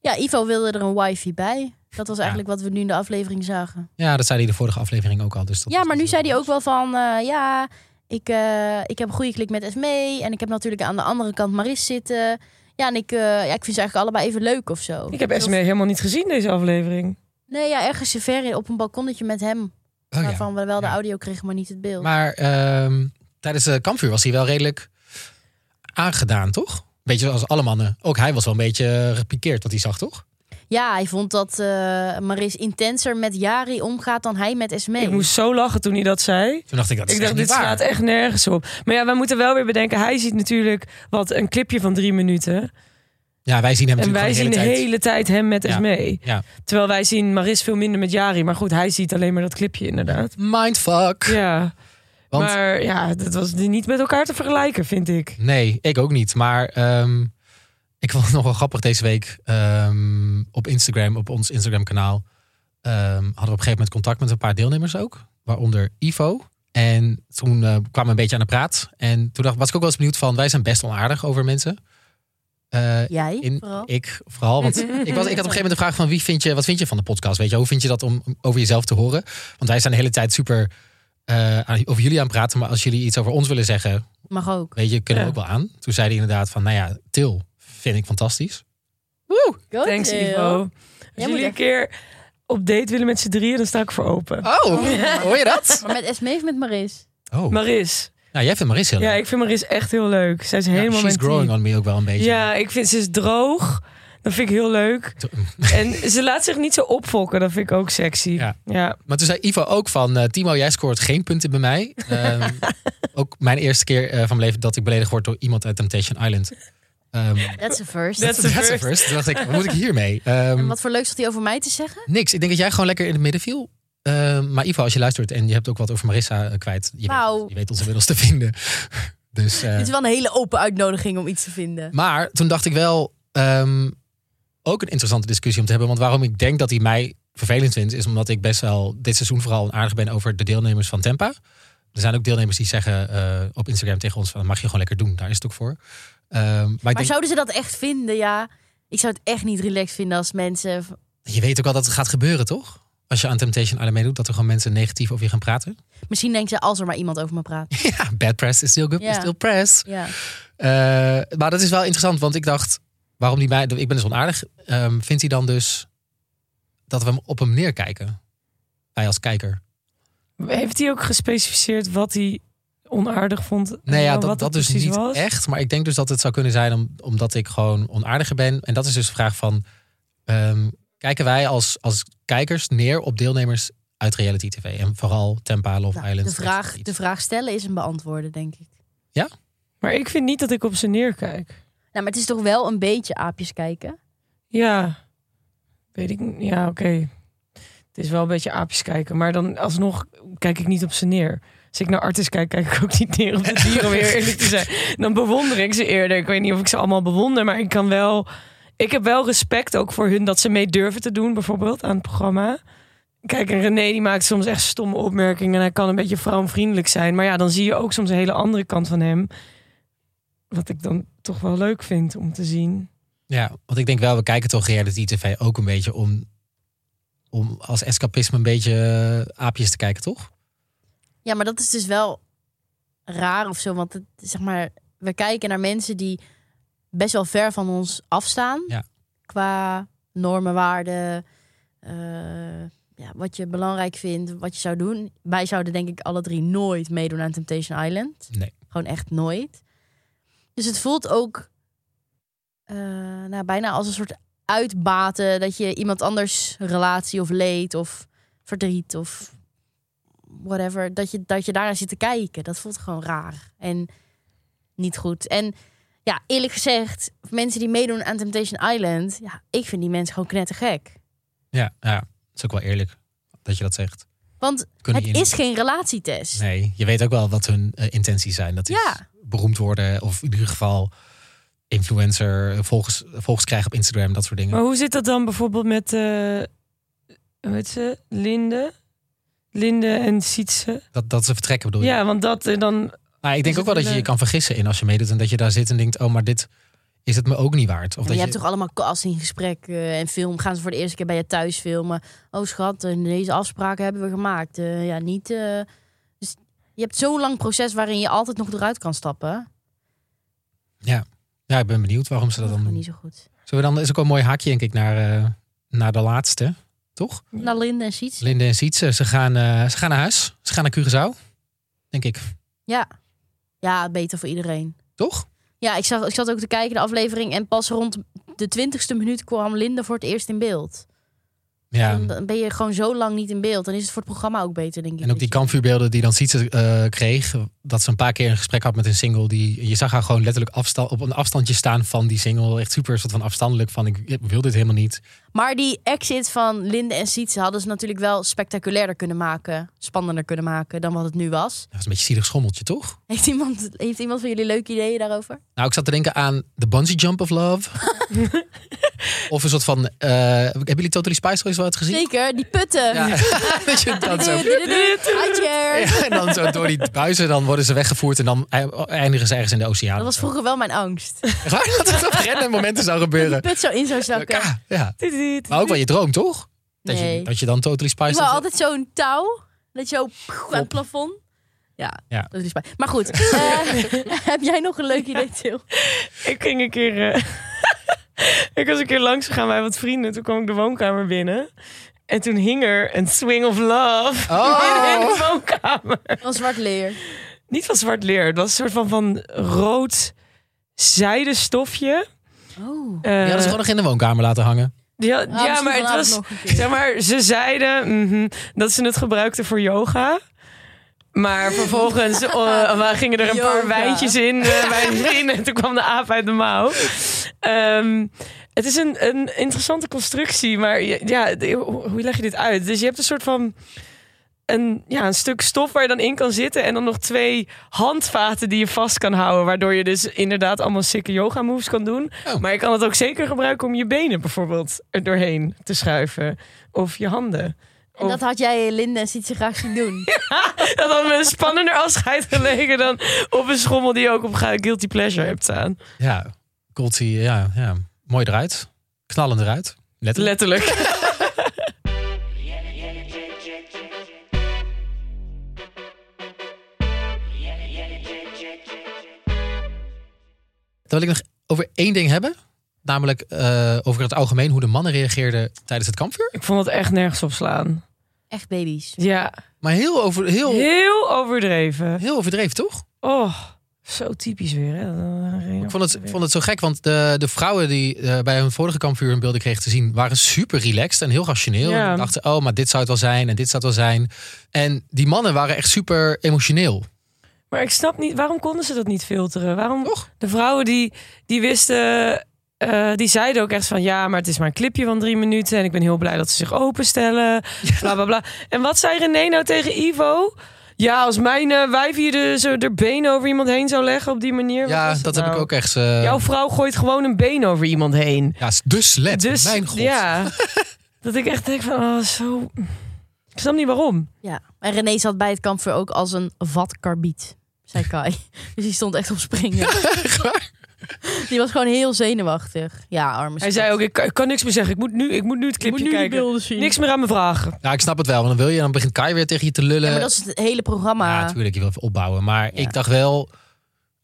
A: Ja, Ivo wilde er een wifi bij. Dat was eigenlijk wat we nu in de aflevering zagen.
C: Ja, dat zei hij de vorige aflevering ook al. Dus dat
A: Ja, maar nu zei hij ook wel van, eh, ja, ik, eh, ik heb een goede klik met Esmee. En ik heb natuurlijk aan de andere kant Maris zitten. Ja, en ik, eh, ja, ik vind ze eigenlijk allebei even leuk of zo.
B: Ik heb E. Esme helemaal niet gezien deze aflevering.
A: Nee, ja, ergens ver op een balkonnetje met hem.
C: Oh, ja.
A: waarvan we wel de
C: Ja.
A: audio kregen, maar niet het beeld.
C: Maar ehm, tijdens de kampvuur was hij wel redelijk aangedaan, toch? Beetje zoals alle mannen. Ook hij was wel een beetje eh, gepikeerd wat hij zag, toch?
A: Ja, hij vond dat eh, Maris intenser met Jari omgaat dan hij met E. Esmee.
B: Ik moest zo lachen toen hij dat zei.
C: Toen dacht ik, dat is
B: Ik
C: echt
B: dacht,
C: niet
B: dit
C: waar.
B: slaat echt nergens op. Maar ja, we moeten wel weer bedenken, hij ziet natuurlijk wat een clipje van drie minuten.
C: Ja, wij zien hem
B: En
C: natuurlijk
B: wij
C: gewoon
B: zien
C: de
B: de
C: hele tijd.
B: hele tijd hem met
C: Ja.
B: Esme.
C: Ja.
B: Terwijl wij zien Maris veel minder met Jari. Maar goed, hij ziet alleen maar dat clipje inderdaad.
C: Mindfuck.
B: Ja,
C: Want
B: maar ja, dat was niet met elkaar te vergelijken, vind ik.
C: nee, ik ook niet. Maar ehm, ik vond het nog wel grappig deze week ehm, op Instagram, op ons Instagram kanaal. hadden we op een gegeven moment contact met een paar deelnemers ook. Waaronder Ivo. En toen eh, kwamen we een beetje aan de praat. En toen dacht, was ik ook wel eens benieuwd van, wij zijn best onaardig over mensen. Eh,
A: Jij
C: in-
A: vooral.
C: Ik vooral. Want ik, was, ik had op een gegeven moment de vraag van wie vind je, wat vind je van de podcast? Weet je, hoe vind je dat om om over jezelf te horen? Want wij zijn de hele tijd super eh, aan- over jullie aan het praten. Maar als jullie iets over ons willen zeggen,
A: Mag ook.
C: weet je, kunnen we
B: Ja.
C: ook wel aan. Toen zei hij inderdaad van, nou ja, Til vind ik fantastisch.
A: Go,
B: Thanks,
A: Til.
B: Ivo.
A: moet
B: Als jullie een
A: echt-
B: keer op date willen met z'n drieën, dan sta ik voor open.
C: Oh, hoor je dat?
A: Maar met Esmee of met Maris?
C: Oh,
B: Maris.
C: nou jij vindt Maris heel
B: Ja,
C: leuk.
B: ik vind Maris echt heel leuk. Zij is helemaal
C: she's
B: mijn team.
C: growing on me ook wel een beetje.
B: Ja, ik vind ze is droog. Dat vind ik heel leuk. En ze laat zich niet zo opfokken. Dat vind ik ook sexy.
C: Ja.
B: ja.
C: Maar toen zei Ivo ook van, eh, Timo, jij scoort geen punten bij mij. Ehm, ook mijn eerste keer eh, van mijn leven dat ik beledigd word door iemand uit Temptation Island. Ehm,
A: That's a first.
B: That's-
C: That's,
B: the
C: a
B: first.
C: first. Toen dacht ik, wat moet ik hiermee? Ehm,
A: En wat voor leuks had hij over mij te zeggen?
C: Niks. Ik denk dat jij gewoon lekker in het midden viel. Ehm, maar Ivo, als je luistert en je hebt ook wat over Marissa eh, kwijt, je,
A: Nou.
C: weet, je weet ons inmiddels te vinden. Dus, eh,
A: Dit is wel een hele open uitnodiging om iets te vinden.
C: maar toen dacht ik wel, ehm, ook een interessante discussie om te hebben. Want waarom ik denk dat hij mij vervelend vindt, is omdat ik best wel dit seizoen vooral aardig ben over de deelnemers van Tempa. Er zijn ook deelnemers die zeggen eh, op Instagram tegen ons: van, dat mag je gewoon lekker doen. Daar is het ook voor. Ehm, maar ik
A: Maar
C: denk,
A: zouden ze dat echt vinden? Ja, ik zou het echt niet relaxed vinden als mensen.
C: je weet ook al dat het gaat gebeuren, toch? Als je aan Temptation Island meedoet, dat er gewoon mensen negatief over je gaan praten.
A: Misschien denken ze als er maar iemand over me praat.
C: Ja, bad press is still good,
A: Ja.
C: is still press.
A: Ja.
C: Eh, maar dat is wel interessant, want ik dacht, waarom die mij, ik ben dus onaardig. Ehm, vindt hij dan dus dat we hem op hem neerkijken? Wij als kijker.
B: Heeft hij ook gespecificeerd wat hij onaardig vond?
C: Nee, ja,
B: En
C: dat,
B: wat
C: dat
B: het
C: dus
B: precies
C: niet
B: was?
C: echt. Maar ik denk dus dat het zou kunnen zijn om, omdat ik gewoon onaardiger ben. En dat is dus de vraag van, ehm, kijken wij als, als kijkers neer op deelnemers uit reality tv? En vooral Tempa, Love
A: Nou,
C: Island.
A: de, vraag,
C: Iets.
A: de vraag stellen is een beantwoorden, denk ik.
B: Maar ik vind niet dat ik op ze neerkijk.
A: Nou, maar het is toch wel een beetje aapjes kijken.
B: Ja, weet ik. niet. Ja, oké. Het is wel een beetje aapjes kijken. Maar dan alsnog kijk ik niet op ze neer. Als ik naar artis kijk, kijk ik ook niet neer op de dieren, om heel eerlijk te zijn. Dan bewonder ik ze eerder. Ik weet niet of ik ze allemaal bewonder, maar ik kan wel... Ik heb wel respect ook voor hun dat ze mee durven te doen, bijvoorbeeld, aan het programma. Kijk, en René die maakt soms echt stomme opmerkingen en hij kan een beetje vrouwenvriendelijk zijn. Maar ja, dan zie je ook soms een hele andere kant van hem. Wat ik dan toch wel leuk vind om te zien.
C: Ja, want ik denk wel, we kijken toch reality tv ook een beetje om, om als escapisme een beetje eh, aapjes te kijken, toch?
A: Ja, maar dat is dus wel raar of zo. Want het, zeg maar, we kijken naar mensen die best wel ver van ons afstaan.
C: Ja.
A: Qua normen, waarden, eh, ja, wat je belangrijk vindt, wat je zou doen. Wij zouden denk ik alle drie nooit meedoen aan Temptation Island.
C: Nee.
A: Gewoon echt nooit. Dus het voelt ook eh, nou, bijna als een soort uitbaten dat je iemand anders relatie of leed of verdriet of whatever, dat je, dat je daarnaar zit te kijken. Dat voelt gewoon raar en niet goed. En ja, eerlijk gezegd, mensen die meedoen aan Temptation Island, ja, ik vind die mensen gewoon knettergek.
C: Ja, ja, dat is ook wel eerlijk dat je dat zegt.
A: Want
C: Kunnen
A: het
C: jullie-
A: is geen relatietest.
C: Nee, je weet ook wel wat hun eh, intenties zijn. Dat is
A: Ja.
C: beroemd worden of in ieder geval influencer, eh, volgers, volgers krijgen op Instagram, dat soort
A: Oh.
C: dingen.
B: Maar hoe zit dat dan bijvoorbeeld met, eh hoe heet ze, Linde? Linde en Sietse.
C: Dat, dat ze vertrekken bedoel je?
B: Ja, want dat eh, dan.
C: Maar ik denk
B: Is
A: Dus
C: ook
B: het
C: wel dat je je
B: leuk?
C: kan vergissen in als je meedoet. En dat je daar zit en denkt, oh, maar dit is het me ook niet waard. Of
A: je,
C: dat
A: hebt toch allemaal castinggesprekken en film. Gaan ze voor de eerste keer bij je thuis filmen. Oh schat, eh, deze afspraken hebben we gemaakt. Eh, ja, niet... eh, dus je hebt zo'n lang proces waarin je altijd nog eruit kan stappen.
C: Ja, ik ben benieuwd waarom ze
A: Dat
C: dat
A: is
C: dan
A: gewoon
C: doen.
A: niet zo goed.
C: Zullen we dan, is ook wel een mooi haakje denk ik naar, eh, naar de laatste. Toch?
A: Nou, Linde en Siets.
C: Linde en Sietse, ze gaan, eh, ze gaan naar huis. Ze gaan naar Curaçao. Denk ik.
A: Ja. Ja, beter voor iedereen.
C: Toch?
A: Ja, ik, zag, ik zat ook te kijken de aflevering. En pas rond de twintigste minuut kwam Linde voor het eerst in beeld.
C: Ja.
A: Dan- Dan ben je gewoon zo lang niet in beeld. Dan is het voor het programma ook beter, denk ik.
C: En ook die kampvuurbeelden die dan Sietse eh, kreeg. Dat ze een paar keer een gesprek had met een single. Die, je zag haar gewoon letterlijk afsta- op een afstandje staan van die single. Echt super soort van afstandelijk van ik wil dit helemaal niet.
A: Maar die exit van Linde en Sietse hadden ze natuurlijk wel spectaculairder kunnen maken. Spannender kunnen maken dan wat het nu was.
C: Dat was een beetje een zielig schommeltje, toch?
A: Heeft iemand, heeft iemand van jullie leuke ideeën daarover?
C: Nou, ik zat te denken aan The Bungee Jump of Love. of een soort van... eh, hebben jullie Totally Spice wel eens wat gezien?
A: Zeker, die putten.
C: Ja, dat je dan zo...
A: High chair.
C: Ja, en dan zo door die buizen, dan worden ze weggevoerd en dan eindigen ze ergens in de oceaan.
A: Dat was vroeger wel mijn angst.
C: Echt waar? dat het op random momenten zou gebeuren.
A: Put zo in zou zakken.
C: Ja, ja. Maar ook wel je droom, toch? Dat, je,
A: Nee.
C: dat je dan
A: Ik
C: Totally Spice...
A: wou altijd zo'n touw. Dat je zo pff, aan het plafond. Ja,
C: Ja.
A: dat is spijt. Maar goed, eh, heb jij nog een leuk idee, Til?
B: Ik ging een keer. eh, ik was een keer langs gegaan bij wat vrienden. Toen kwam ik de woonkamer binnen. En toen hing er een swing of love in
C: Oh!
B: de woonkamer.
A: Van zwart leer.
B: Niet van zwart leer. Het was een soort van, van rood zijde stofje.
A: Oh.
B: Eh,
C: Ja, dat is gewoon nog in de woonkamer laten hangen.
B: die had- ja, maar het was. Zeg maar, ze zeiden mhm, dat ze het gebruikten voor yoga. Maar vervolgens eh, maar gingen er een
A: Yoga.
B: paar wijntjes in eh, bij de vrienden. En toen kwam de aap uit de mouw. Ehm, het is een, een interessante constructie. Maar je- ja, de- hoe hoe leg je dit uit? Dus je hebt een soort van... Een, ja, een stuk stof waar je dan in kan zitten. En dan nog twee handvaten die je vast kan houden. Waardoor je dus inderdaad allemaal sikke yoga moves kan doen.
C: Oh.
B: Maar je kan het ook zeker gebruiken om je benen bijvoorbeeld er doorheen te schuiven. Of je handen.
A: En dat had jij Linde en Sietse graag zien doen.
B: Dat had me een spannender afscheid gelegen dan op een schommel die je ook op Guilty Pleasure hebt staan.
C: Ja, Colty, ja, ja. Mooi eruit. Knallend eruit. Letterlijk.
B: Letterlijk.
C: Dan wil ik nog over één ding hebben. Namelijk eh, over het algemeen hoe de mannen reageerden tijdens het kampvuur.
B: Ik vond het echt nergens op slaan.
A: Echt baby's.
B: Ja,
C: Maar heel, over, heel,
B: heel overdreven.
C: heel overdreven, toch?
B: Oh, zo typisch weer. Hè? Dat-
C: Ik vond het, vond het zo gek, want de, de vrouwen die eh, bij hun vorige kampvuur hun beelden kregen te zien, waren super relaxed en heel rationeel.
B: Ja.
C: En dachten, oh, maar dit zou het wel zijn en dit zou het wel zijn. En die mannen waren echt super emotioneel.
B: Maar ik snap niet, waarom konden ze dat niet filteren? Waarom
C: Toch?
B: de vrouwen die, die wisten, eh, die zeiden ook echt van ja, maar het is maar een clipje van drie minuten en ik ben heel blij dat ze zich openstellen. Bla bla bla. En wat zei René nou tegen Ivo? Ja, als mijn eh, wijf hier de, zo de been over iemand heen zou leggen op die manier. wat
C: ja,
B: was
C: dat heb
B: nou?
C: ik ook echt. eh,
B: Jouw vrouw gooit gewoon een been over iemand heen.
C: Ja, dus let.
B: Dus
C: mijn god.
B: ja, dat ik echt denk van oh, zo. Ik snap niet waarom.
A: Ja. En René zat bij het kampvuur ook als een vat karbiet, zei Kai. Dus die stond echt op springen. Die was gewoon heel zenuwachtig. Ja, arme
B: Hij
A: schat.
B: zei ook, ik kan, ik kan niks meer zeggen. Ik moet nu, ik moet nu het
A: Je moet
B: clipje
A: nu die
B: kijken.
A: beelden zien.
B: Niks meer aan me vragen.
C: Ja, ik snap het wel. Want dan wil je, dan begint Kai weer tegen je te lullen.
A: Ja, maar dat is het hele
C: Eh, Ja,
A: programma.
C: natuurlijk. Je wil even opbouwen. Maar
A: Ja.
C: ik dacht wel...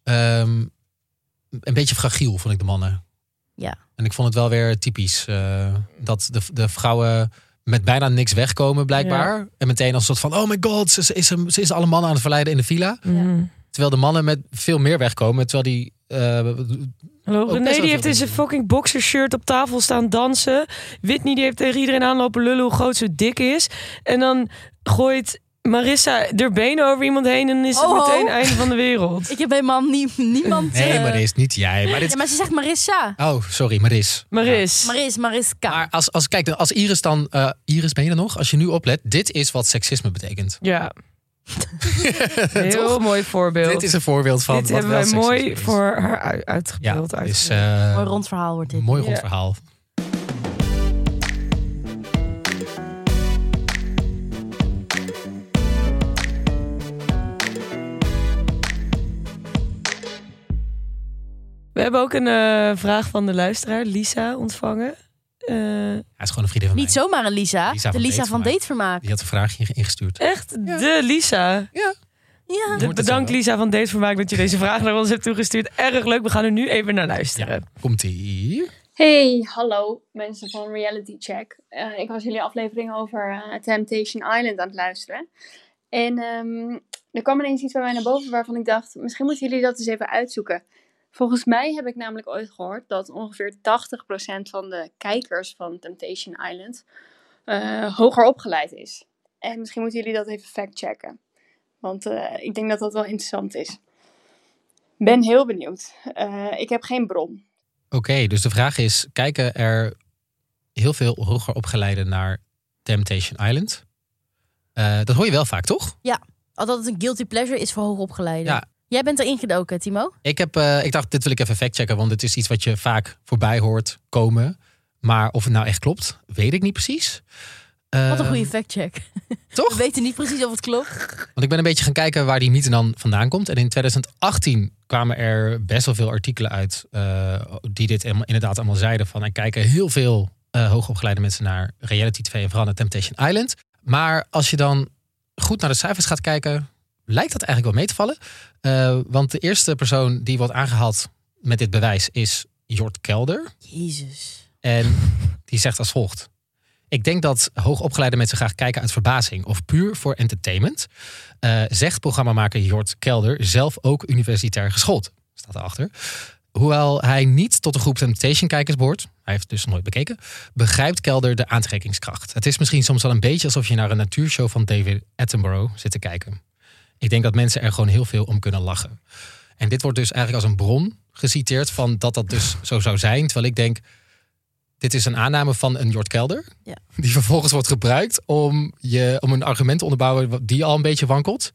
C: ehm, een beetje fragiel, vond ik de mannen.
A: Ja.
C: En ik vond het wel weer typisch. eh, dat de, de vrouwen met bijna niks wegkomen, blijkbaar. En meteen als een soort van... Oh my god, ze, ze is, hem- ze is alle mannen aan het verleiden in de villa.
A: Ja.
B: Mhm.
C: Terwijl de mannen met veel meer wegkomen. Terwijl die... eh,
B: Hallo,
C: best
B: René
C: wel
B: die heeft
C: veel
B: in zijn fucking boxershirt op tafel staan dansen. Whitney die heeft tegen iedereen aanlopen lullen hoe groot ze dik is. En dan gooit Marissa er benen over iemand heen en dan is het
A: Oh, ho.
B: meteen einde van de wereld.
A: Ik heb helemaal nie- niemand...
C: nee,
A: eh,
C: Maris, niet jij. Maar dit...
A: Ja, maar ze zegt Marissa.
C: Oh, sorry, Maris.
B: Maris.
A: Maris, Mariska.
C: Maar als, als, kijk, dan- als Iris dan... eh, Iris, ben je er nog? Als je nu oplet, dit is wat seksisme betekent.
B: Ja. Heel mooi voorbeeld.
C: Dit is een voorbeeld van
B: Dit
C: wat
B: hebben
C: wel
B: wij mooi
C: seksisme is.
B: voor haar u-
C: Ja,
B: uitgebeeld.
C: dus,
B: uitgebeeld.
C: eh,
A: Mooi rond verhaal wordt dit.
C: mooi rond
B: Ja.
C: verhaal.
B: hebben ook een eh, vraag van de luisteraar, Lisa, ontvangen. Eh,
C: Hij is gewoon een vriendin van
A: Niet
C: mij.
A: zomaar een Lisa,
C: Lisa
A: de
C: van
A: Lisa van
C: Datevermaak.
A: Datevermaak.
C: Die had een vraagje inge- ingestuurd.
B: echt de Lisa.
A: Ja.
B: De,
C: Hoort het zo
B: Ah. Dus bedankt
C: wel?
B: Lisa van Datevermaak dat je deze vraag naar ons hebt toegestuurd. Erg leuk, we gaan er nu even naar luisteren.
C: Komt ie?
D: Hey, hallo mensen van Reality Check. Eh, ik was jullie aflevering over eh, Temptation Island aan het luisteren. En ehm, er kwam ineens iets bij mij naar boven waarvan ik dacht, misschien moeten jullie dat eens even uitzoeken. Volgens mij heb ik namelijk ooit gehoord dat ongeveer 80% van de kijkers van Temptation Island eh, hoger opgeleid is. En misschien moeten jullie dat even factchecken. Want eh, ik denk dat dat wel interessant is. Ben heel benieuwd. Eh, ik heb geen bron.
C: Oké, dus de vraag is: kijken er heel veel hoger opgeleiden naar Temptation Island? Eh, dat hoor je wel vaak, toch?
A: Al dat het een guilty pleasure is voor hoogopgeleiden.
C: Ja.
A: Jij bent erin gedoken, Timo.
C: Ik, heb, eh, ik dacht, dit wil ik even factchecken, want het is iets wat je vaak voorbij hoort komen. Maar of het nou echt klopt, weet ik niet precies.
A: Wat een
C: Ehm,
A: goede factcheck. We
C: Toch?
A: weten niet precies of het klopt.
C: Want ik ben een beetje gaan kijken waar die mythe dan vandaan komt. En in 2018 kwamen er best wel veel artikelen uit eh, die dit helemaal- inderdaad allemaal zeiden. Van er kijken heel veel eh, hoogopgeleide mensen naar reality tv en vooral naar Temptation Island. Maar als je dan goed naar de cijfers gaat kijken, lijkt dat eigenlijk wel mee te vallen. Eh, want de eerste persoon die wordt aangehaald met dit bewijs is Jort Kelder.
A: Jezus.
C: En die zegt als volgt. Ik denk dat hoogopgeleide mensen graag kijken uit verbazing of puur voor entertainment. Eh, zegt programmamaker Jort Kelder, zelf ook universitair geschoold. Staat erachter. Hoewel hij niet tot de groep Temptation-kijkers behoort, hij heeft het dus nooit bekeken, begrijpt Kelder de aantrekkingskracht. Het is misschien soms wel een beetje alsof je naar een natuurshow van David Attenborough zit te kijken. Ik denk dat mensen er gewoon heel veel om kunnen lachen. En dit wordt dus eigenlijk als een bron geciteerd van dat dat dus zo zou zijn. Terwijl ik denk, dit is een aanname van een Jort Kelder.
A: Ja.
C: Die vervolgens wordt gebruikt om, je, om een argument te onderbouwen wat- die al een beetje wankelt.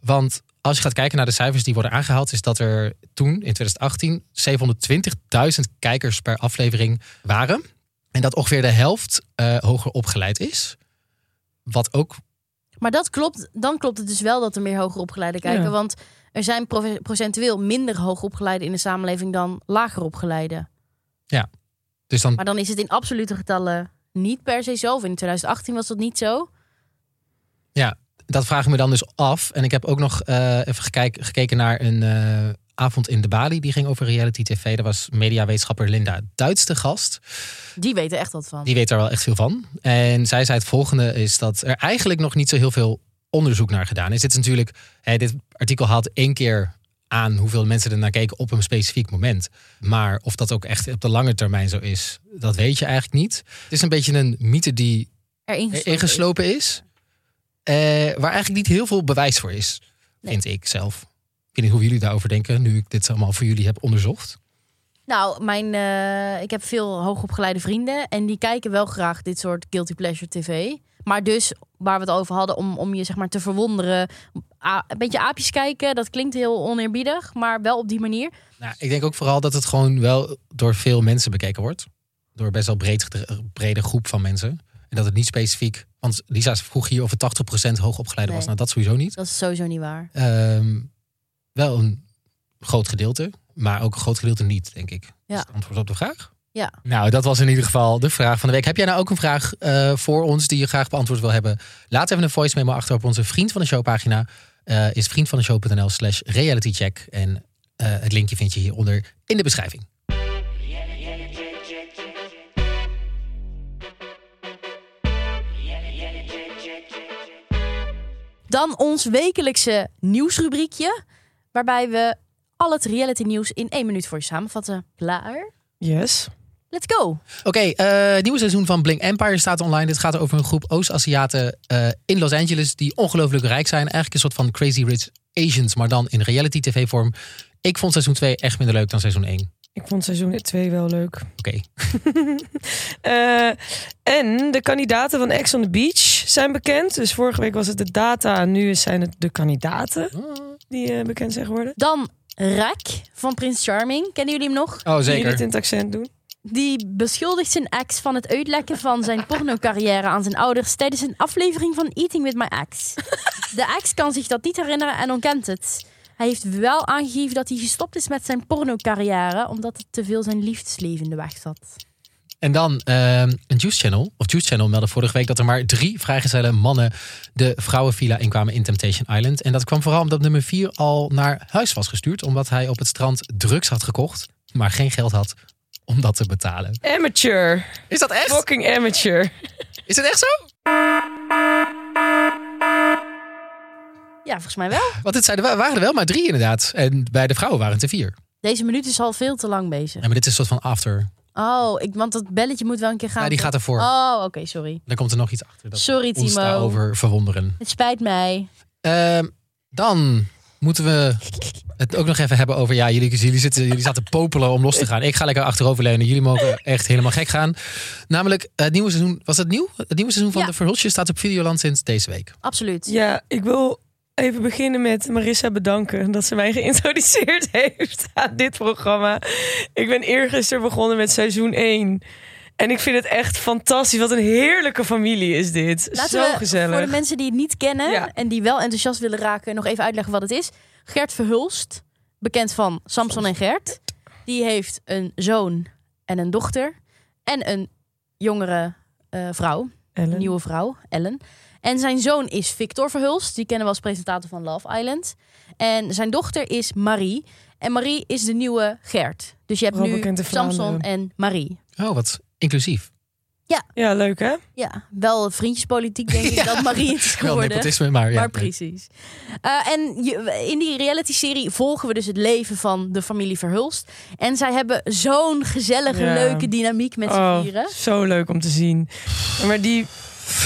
C: Want als je gaat kijken naar de cijfers die worden aangehaald, is dat er toen in 2018 720.000 kijkers per aflevering waren. En dat ongeveer de helft eh, hoger opgeleid is. Wat ook
A: Maar dat klopt, dan klopt het dus wel dat er meer hogeropgeleiden kijken.
B: Ja.
A: Want er zijn profe- procentueel minder hoogopgeleiden in de samenleving dan lager opgeleiden.
C: dus dan
A: Maar dan is het in absolute getallen niet per se zo. Of in 2018 was dat niet zo.
C: dat vraag ik me dan dus af. En ik heb ook nog eh, even gekijk- gekeken naar een eh, avond in de Bali. Die ging over reality tv. Daar was mediawetenschapper Linda Duits te gast.
A: Die weten echt wat van.
C: Die weet daar wel echt veel van. En zij zei het volgende is dat er eigenlijk nog niet zo heel veel onderzoek naar gedaan is. Dit is natuurlijk, hè, dit artikel haalt één keer aan hoeveel mensen er naar keken op een specifiek moment. Maar of dat ook echt op de lange termijn zo is, dat weet je eigenlijk niet. Het is een beetje een mythe die e-
A: Erin gesloten.
C: ingeslopen is. Eh, waar eigenlijk niet heel veel bewijs voor is,
A: Nee.
C: vind ik zelf. Ik weet niet hoe jullie daarover denken, nu ik dit allemaal voor jullie heb onderzocht.
A: Nou, mijn, eh, ik heb veel hoogopgeleide vrienden. En die kijken wel graag dit soort guilty pleasure tv. Maar dus, waar we het over hadden, om, om je zeg maar te verwonderen. a- een beetje aapjes kijken, dat klinkt heel oneerbiedig. Maar wel op die manier.
C: Nou, ik denk ook vooral dat het gewoon wel door veel mensen bekeken wordt. Door best wel breed, gedre- brede groep van mensen. En dat het niet specifiek... Want Lisa vroeg hier of het 80% hoogopgeleide was.
A: Nee.
C: Nou, dat sowieso niet.
A: Dat is sowieso niet waar.
C: Ehm, wel een groot gedeelte, maar ook een groot gedeelte niet, denk ik.
A: Ja.
C: Is het antwoord op de vraag?
A: Ja.
C: Nou, dat was in ieder geval de vraag van de week. Heb jij nou ook een vraag eh, voor ons die je graag beantwoord wil hebben? Laat even een voice memo achter op onze Vriend van de Show pagina. Eh is vriendvandeshow.nl slash realitycheck. En eh, het linkje vind je hieronder in de beschrijving.
A: Dan ons wekelijkse nieuwsrubriekje. Waarbij we al het reality nieuws in één minuut voor je samenvatten. Klaar?
B: Yes.
A: Let's go!
C: Oké, eh, het nieuwe seizoen van Blink Empire staat online. Dit gaat over een groep Oost-Aziaten eh, in Los Angeles die ongelooflijk rijk zijn. Eigenlijk een soort van Crazy Rich Asians, maar dan in reality tv vorm. Ik vond seizoen 2 echt minder leuk dan seizoen 1. Oké.
B: Ik vond seizoen 2 wel leuk.
C: Oh,
B: Eh, en de kandidaten van Ex on the Beach zijn bekend. Dus vorige week was het de data en nu zijn het de kandidaten die eh, bekend zijn geworden.
A: Dan Rek van Prins Charming. Kennen jullie hem nog?
C: Oh,
B: Kun je
C: zeker.
B: niet in het accent doen?
A: Die beschuldigt zijn ex van het uitlekken van zijn pornocarrière aan zijn ouders tijdens een aflevering van Eating with My Ex. De ex kan zich dat niet herinneren en ontkent het. Hij heeft wel aangegeven dat hij gestopt is met zijn pornocarrière. Omdat het te veel zijn liefdesleven in de weg zat.
C: En dan ehm, een Juice Channel. Of Juice Channel meldde vorige week dat er maar drie vrijgezelle mannen de vrouwenvilla inkwamen in Temptation Island. En dat kwam vooral omdat nummer vier al naar huis was gestuurd. Omdat hij op het strand drugs had gekocht, maar geen geld had om dat te betalen.
B: Amateur.
C: Is dat echt?
B: Fucking amateur.
C: Is het echt zo?
A: Ja, volgens mij wel.
C: Want het zijn er, wa- waren er wel maar drie inderdaad. En bij de vrouwen waren het er vier.
A: Deze minuut is al veel te lang bezig.
C: Ja, maar dit is een soort van after.
A: Oh, ik, want dat belletje moet wel een keer gaan.
C: Ja, die gaat ervoor.
A: Oh, oké, sorry.
C: Dan komt er nog iets achter. Dat
A: Sorry,
C: ons
A: Timo.
C: daarover verwonderen.
A: Het spijt mij.
C: Ehm, dan moeten we het ook nog even hebben over... Ja, jullie, jullie, zitten, jullie zaten popelen om los te gaan. Ik ga lekker achteroverleunen. Jullie mogen echt helemaal gek gaan. Namelijk, eh, het nieuwe seizoen... Was het nieuw? Het nieuwe seizoen van
A: Ja.
C: De Verhulsje staat op Videoland sinds deze week.
A: Absoluut.
B: Ja, ik wil even beginnen met Marissa bedanken dat ze mij geïntroduceerd heeft aan dit programma. Ik ben eergisteren begonnen met seizoen 1. En ik vind het echt fantastisch. Wat een heerlijke familie is dit.
A: Laten
B: Zo
A: we
B: gezellig.
A: voor de mensen die het niet kennen
B: Ja.
A: en die wel enthousiast willen raken, nog even uitleggen wat het is. Gert Verhulst, bekend van Samson en Gert, die heeft een zoon en een dochter en een jongere eh, vrouw,
B: Ellen.
A: een nieuwe vrouw, Ellen. En zijn zoon is Victor Verhulst, die kennen we als presentator van Love Island. En zijn dochter is Marie. En Marie is de nieuwe Gert. Dus je hebt
B: Robbekind
A: nu
B: in
A: Samson
B: Vlaanderen.
A: en Marie.
C: Oh, wat inclusief.
B: Ja, leuk hè?
A: Ja, wel vriendjespolitiek denk ik
C: Ja.
A: dat Marie het is
C: Wel
A: geworden.
C: nepotisme, maar... Ja,
A: Maar precies. Eh, en je- in die reality-serie volgen we dus het leven van de familie Verhulst. En zij hebben zo'n gezellige,
B: Ja.
A: leuke dynamiek met z'n
B: Oh,
A: vieren.
B: zo leuk om te zien. Maar die...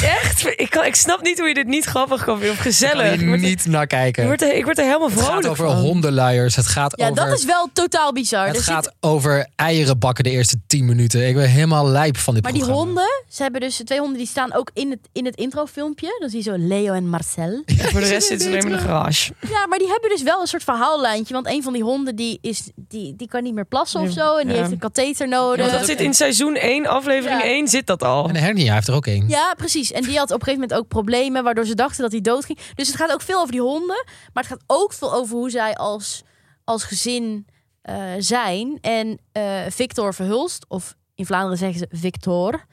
B: Echt? Ik, kan, ik snap niet hoe je dit niet grappig kan vinden. Of
C: Ik kan
B: gezellig.
C: hier
B: Ik word, er,
C: niet naar kijken.
B: ik word er- ik word er helemaal
C: het
B: vrolijk
C: gaat over
B: van.
C: hondenluiers. Het gaat
A: Ja,
C: over...
A: dat is wel totaal bizar. Er
C: Het
A: zit-
C: gaat over eieren bakken de eerste 10 minuten. Ik ben helemaal lijp van dit
A: maar die
C: programma.
A: honden, ze hebben dus twee honden die staan ook in het, in het introfilmpje. Dan zie je zo Leo en Marcel.
B: Voor de rest zit ze alleen maar in de garage.
A: Ja, maar die hebben dus wel een soort verhaallijntje. Want een van die honden die is, die, die kan niet meer plassen of
B: Ja.
A: zo. En die
B: Ja.
A: heeft een katheter nodig.
B: Want dat zit in seizoen 1, aflevering
A: Ja.
B: 1 zit dat al.
C: En de hernia heeft er ook één.
A: Ja, precies. En die had op een gegeven moment ook problemen, waardoor ze dachten dat hij doodging. Dus het gaat ook veel over die honden, maar het gaat ook veel over hoe zij als, als gezin eh, zijn. En eh, Victor Verhulst, of in Vlaanderen zeggen ze Victor.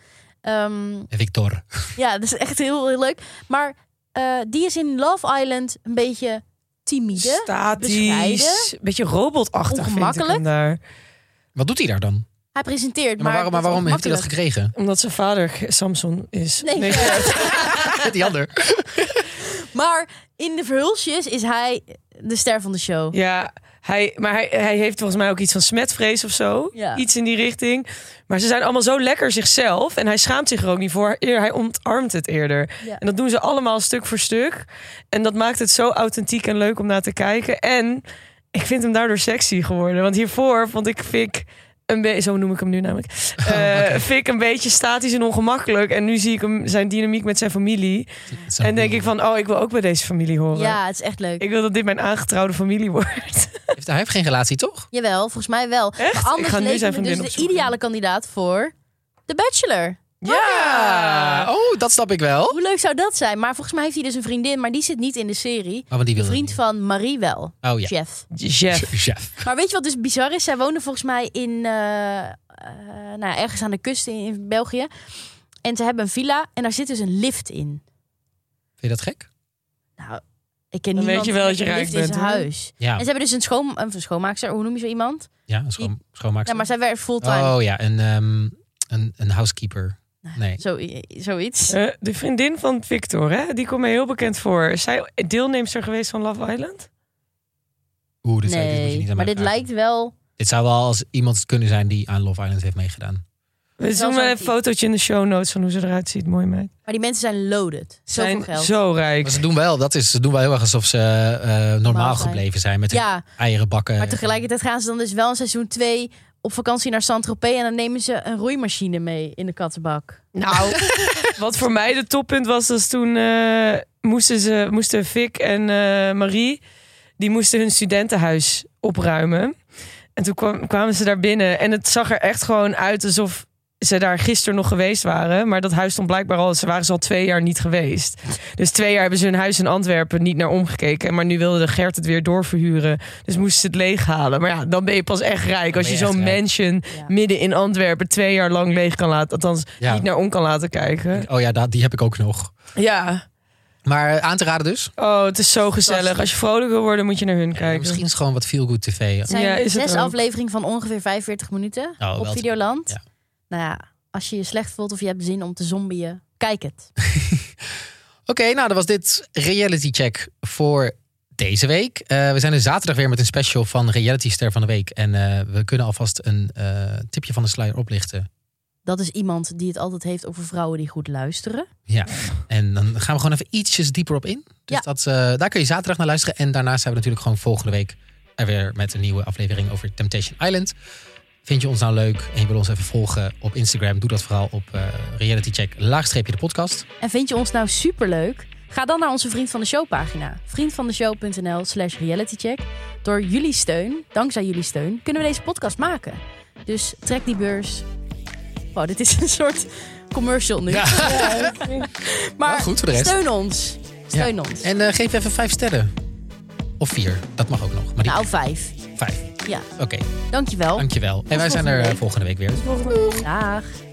A: Ehm,
C: Victor.
A: ja, dat is echt heel, heel leuk. Maar eh, die is in Love Island een beetje timide.
B: Statisch.
A: bescheiden.
B: Beetje robotachtig vind ik hem
A: Ongemakkelijk.
B: daar.
C: Wat doet hij daar dan?
A: Hij presenteert,
C: maar, waarom, maar
A: dat is
C: waarom heeft hij dat
A: ongemakkelijk.
C: gekregen?
B: Omdat zijn vader G- Samson is.
A: Nee,
C: Die ander.
A: Maar in de Verhulstjes is hij de ster van de show.
B: Ja, hij, maar hij, hij heeft volgens mij ook iets van smetvrees of zo.
A: Ja.
B: Iets in die richting. Maar ze zijn allemaal zo lekker zichzelf. En hij schaamt zich er ook niet voor. Eer, hij omarmt het eerder.
A: Ja.
B: En dat doen ze allemaal stuk voor stuk. En dat maakt het zo authentiek en leuk om naar te kijken. En ik vind hem daardoor sexy geworden. Want hiervoor vond ik Fik een beetje... Zo noem ik hem nu namelijk. Eh Fik een beetje statisch en ongemakkelijk. En nu zie ik hem, zijn dynamiek met zijn familie. En denk ik van, oh, ik wil ook bij deze familie horen.
A: Ja, het is echt leuk.
B: Ik wil dat dit mijn aangetrouwde familie wordt.
C: Heeft- hij heeft geen relatie, toch?
A: Jawel, volgens mij wel.
B: Echt?
A: Maar anders
B: Ik ga nu
A: leek
B: zijn
A: me dus
B: vriendin
A: de
B: opzoeken.
A: ideale kandidaat voor The Bachelor. Eh,
B: Ja!
C: Oh, dat snap ik wel.
A: Hoe leuk zou dat zijn? Maar volgens mij heeft hij dus een vriendin, maar die zit niet in de serie.
C: Maar want die
A: De
C: wil
A: vriend van Marie wel,
C: Oh ja.
A: chef.
B: Chef.
C: Chef.
A: Maar weet je wat dus bizar is? Zij woonde volgens mij in, eh, eh, nou, ja, ergens aan de kust in, in België. En ze hebben een villa en daar zit dus een lift in.
C: Vind je dat gek?
A: Nou, ik ken
B: Dan
A: niemand
B: weet je wel dat je
A: met een
B: rijk
A: lift in
B: bent,
A: zijn
B: hoor.
A: huis.
C: Ja,
A: En ze hebben dus een, schoon, een schoonmaakster, hoe noem je zo iemand?
C: ja een schoon,
A: Ja,
C: schoonmaakster.
A: maar zij werkt fulltime.
C: Oh ja, een, ehm, een, een housekeeper. Nee.
A: Zo, zoiets.
B: Eh, de vriendin van Victor, hè? die komt mij heel bekend voor. Is zij deelnemster geweest van Love Island?
C: Oeh, dit, zou- dit moet je
A: nee,
C: niet aan
A: maar
C: mij
A: dit
C: vragen.
A: lijkt wel...
C: Dit zou wel als iemand kunnen zijn die aan Love Island heeft meegedaan.
B: We
A: zo'n
B: doen wel een
A: type.
B: fotootje in de show notes van hoe ze eruit ziet. Mooi meid.
A: Maar die mensen zijn loaded.
B: Ze
A: Zoveel
B: zijn
A: geld.
B: zo rijk.
C: Maar ze doen wel, dat is, ze doen wel heel erg alsof ze eh, normaal
A: Normaal zijn.
C: gebleven zijn met hun
A: Ja,
C: eieren bakken.
A: maar tegelijkertijd gaan ze dan dus wel in seizoen 2 op vakantie naar Saint-Tropez. En dan nemen ze een roeimachine mee in de kattenbak.
B: Nou, wat voor mij de toppunt was, was toen eh, moesten, ze, moesten Vic en eh, Marie, die moesten hun studentenhuis opruimen. En toen kwam- kwamen ze daar binnen en het zag er echt gewoon uit alsof ze daar gisteren nog geweest waren. Maar dat huis stond blijkbaar al, ze waren ze al twee jaar niet geweest. Dus twee jaar hebben ze hun huis in Antwerpen niet naar omgekeken. Maar nu wilde de Gert het weer doorverhuren. Dus moesten ze het leeghalen. Maar ja, dan ben je pas echt rijk. Als
C: ben
B: je
C: je
B: zo'n
C: echt rijk.
B: mansion
A: Ja.
B: midden in Antwerpen twee jaar lang leeg kan laten. Althans,
C: Ja.
B: niet naar om kan laten kijken.
C: Oh ja, da- die heb ik ook nog.
B: Ja,
C: Maar eh, aan te raden dus.
B: oh, het is zo gezellig. Als je vrolijk wil worden, moet je naar hun kijken.
C: Misschien is het gewoon wat feel good tv.
A: Het zijn
B: Ja, is het
A: zes
B: ook.
A: afleveringen van ongeveer 45 minuten
C: Oh,
A: op
C: wel te-
A: Videoland.
C: ja.
A: Nou ja, als je je slecht voelt of je hebt zin om te zombieën, kijk het.
C: Oké, nou dat was dit reality check voor deze week. Eh, we zijn er zaterdag weer met een special van Reality Ster van de Week. En eh, we kunnen alvast een eh, tipje van de sluier oplichten.
A: Dat is iemand die het altijd heeft over vrouwen die goed luisteren.
C: Ja, en dan gaan we gewoon even ietsjes dieper op in. Dus
A: Ja.
C: dat, eh, daar kun je zaterdag naar luisteren. En daarnaast zijn we natuurlijk gewoon volgende week er weer met een nieuwe aflevering over Temptation Island. Vind je ons nou leuk en je wil ons even volgen op Instagram? Doe dat vooral op eh, realitycheck laagstreepje de podcast.
A: En vind je ons nou superleuk? Ga dan naar onze Vriend van de Show pagina. Vriendvandeshow.nl slash realitycheck. Door jullie steun, dankzij jullie steun, kunnen we deze podcast maken. Dus trek die beurs. Wow, dit is een soort commercial nu. maar
C: Wel goed voor de rest.
A: steun ons. Steun
C: Ja.
A: ons.
C: En eh, geef even vijf sterren. Of vier, dat mag ook nog. Maar die
A: Nou, vijf.
C: vijf.
A: Ja,
C: Oké,
A: dankjewel.
C: dankjewel. En wij zijn er eh, volgende week weer.
A: Dag.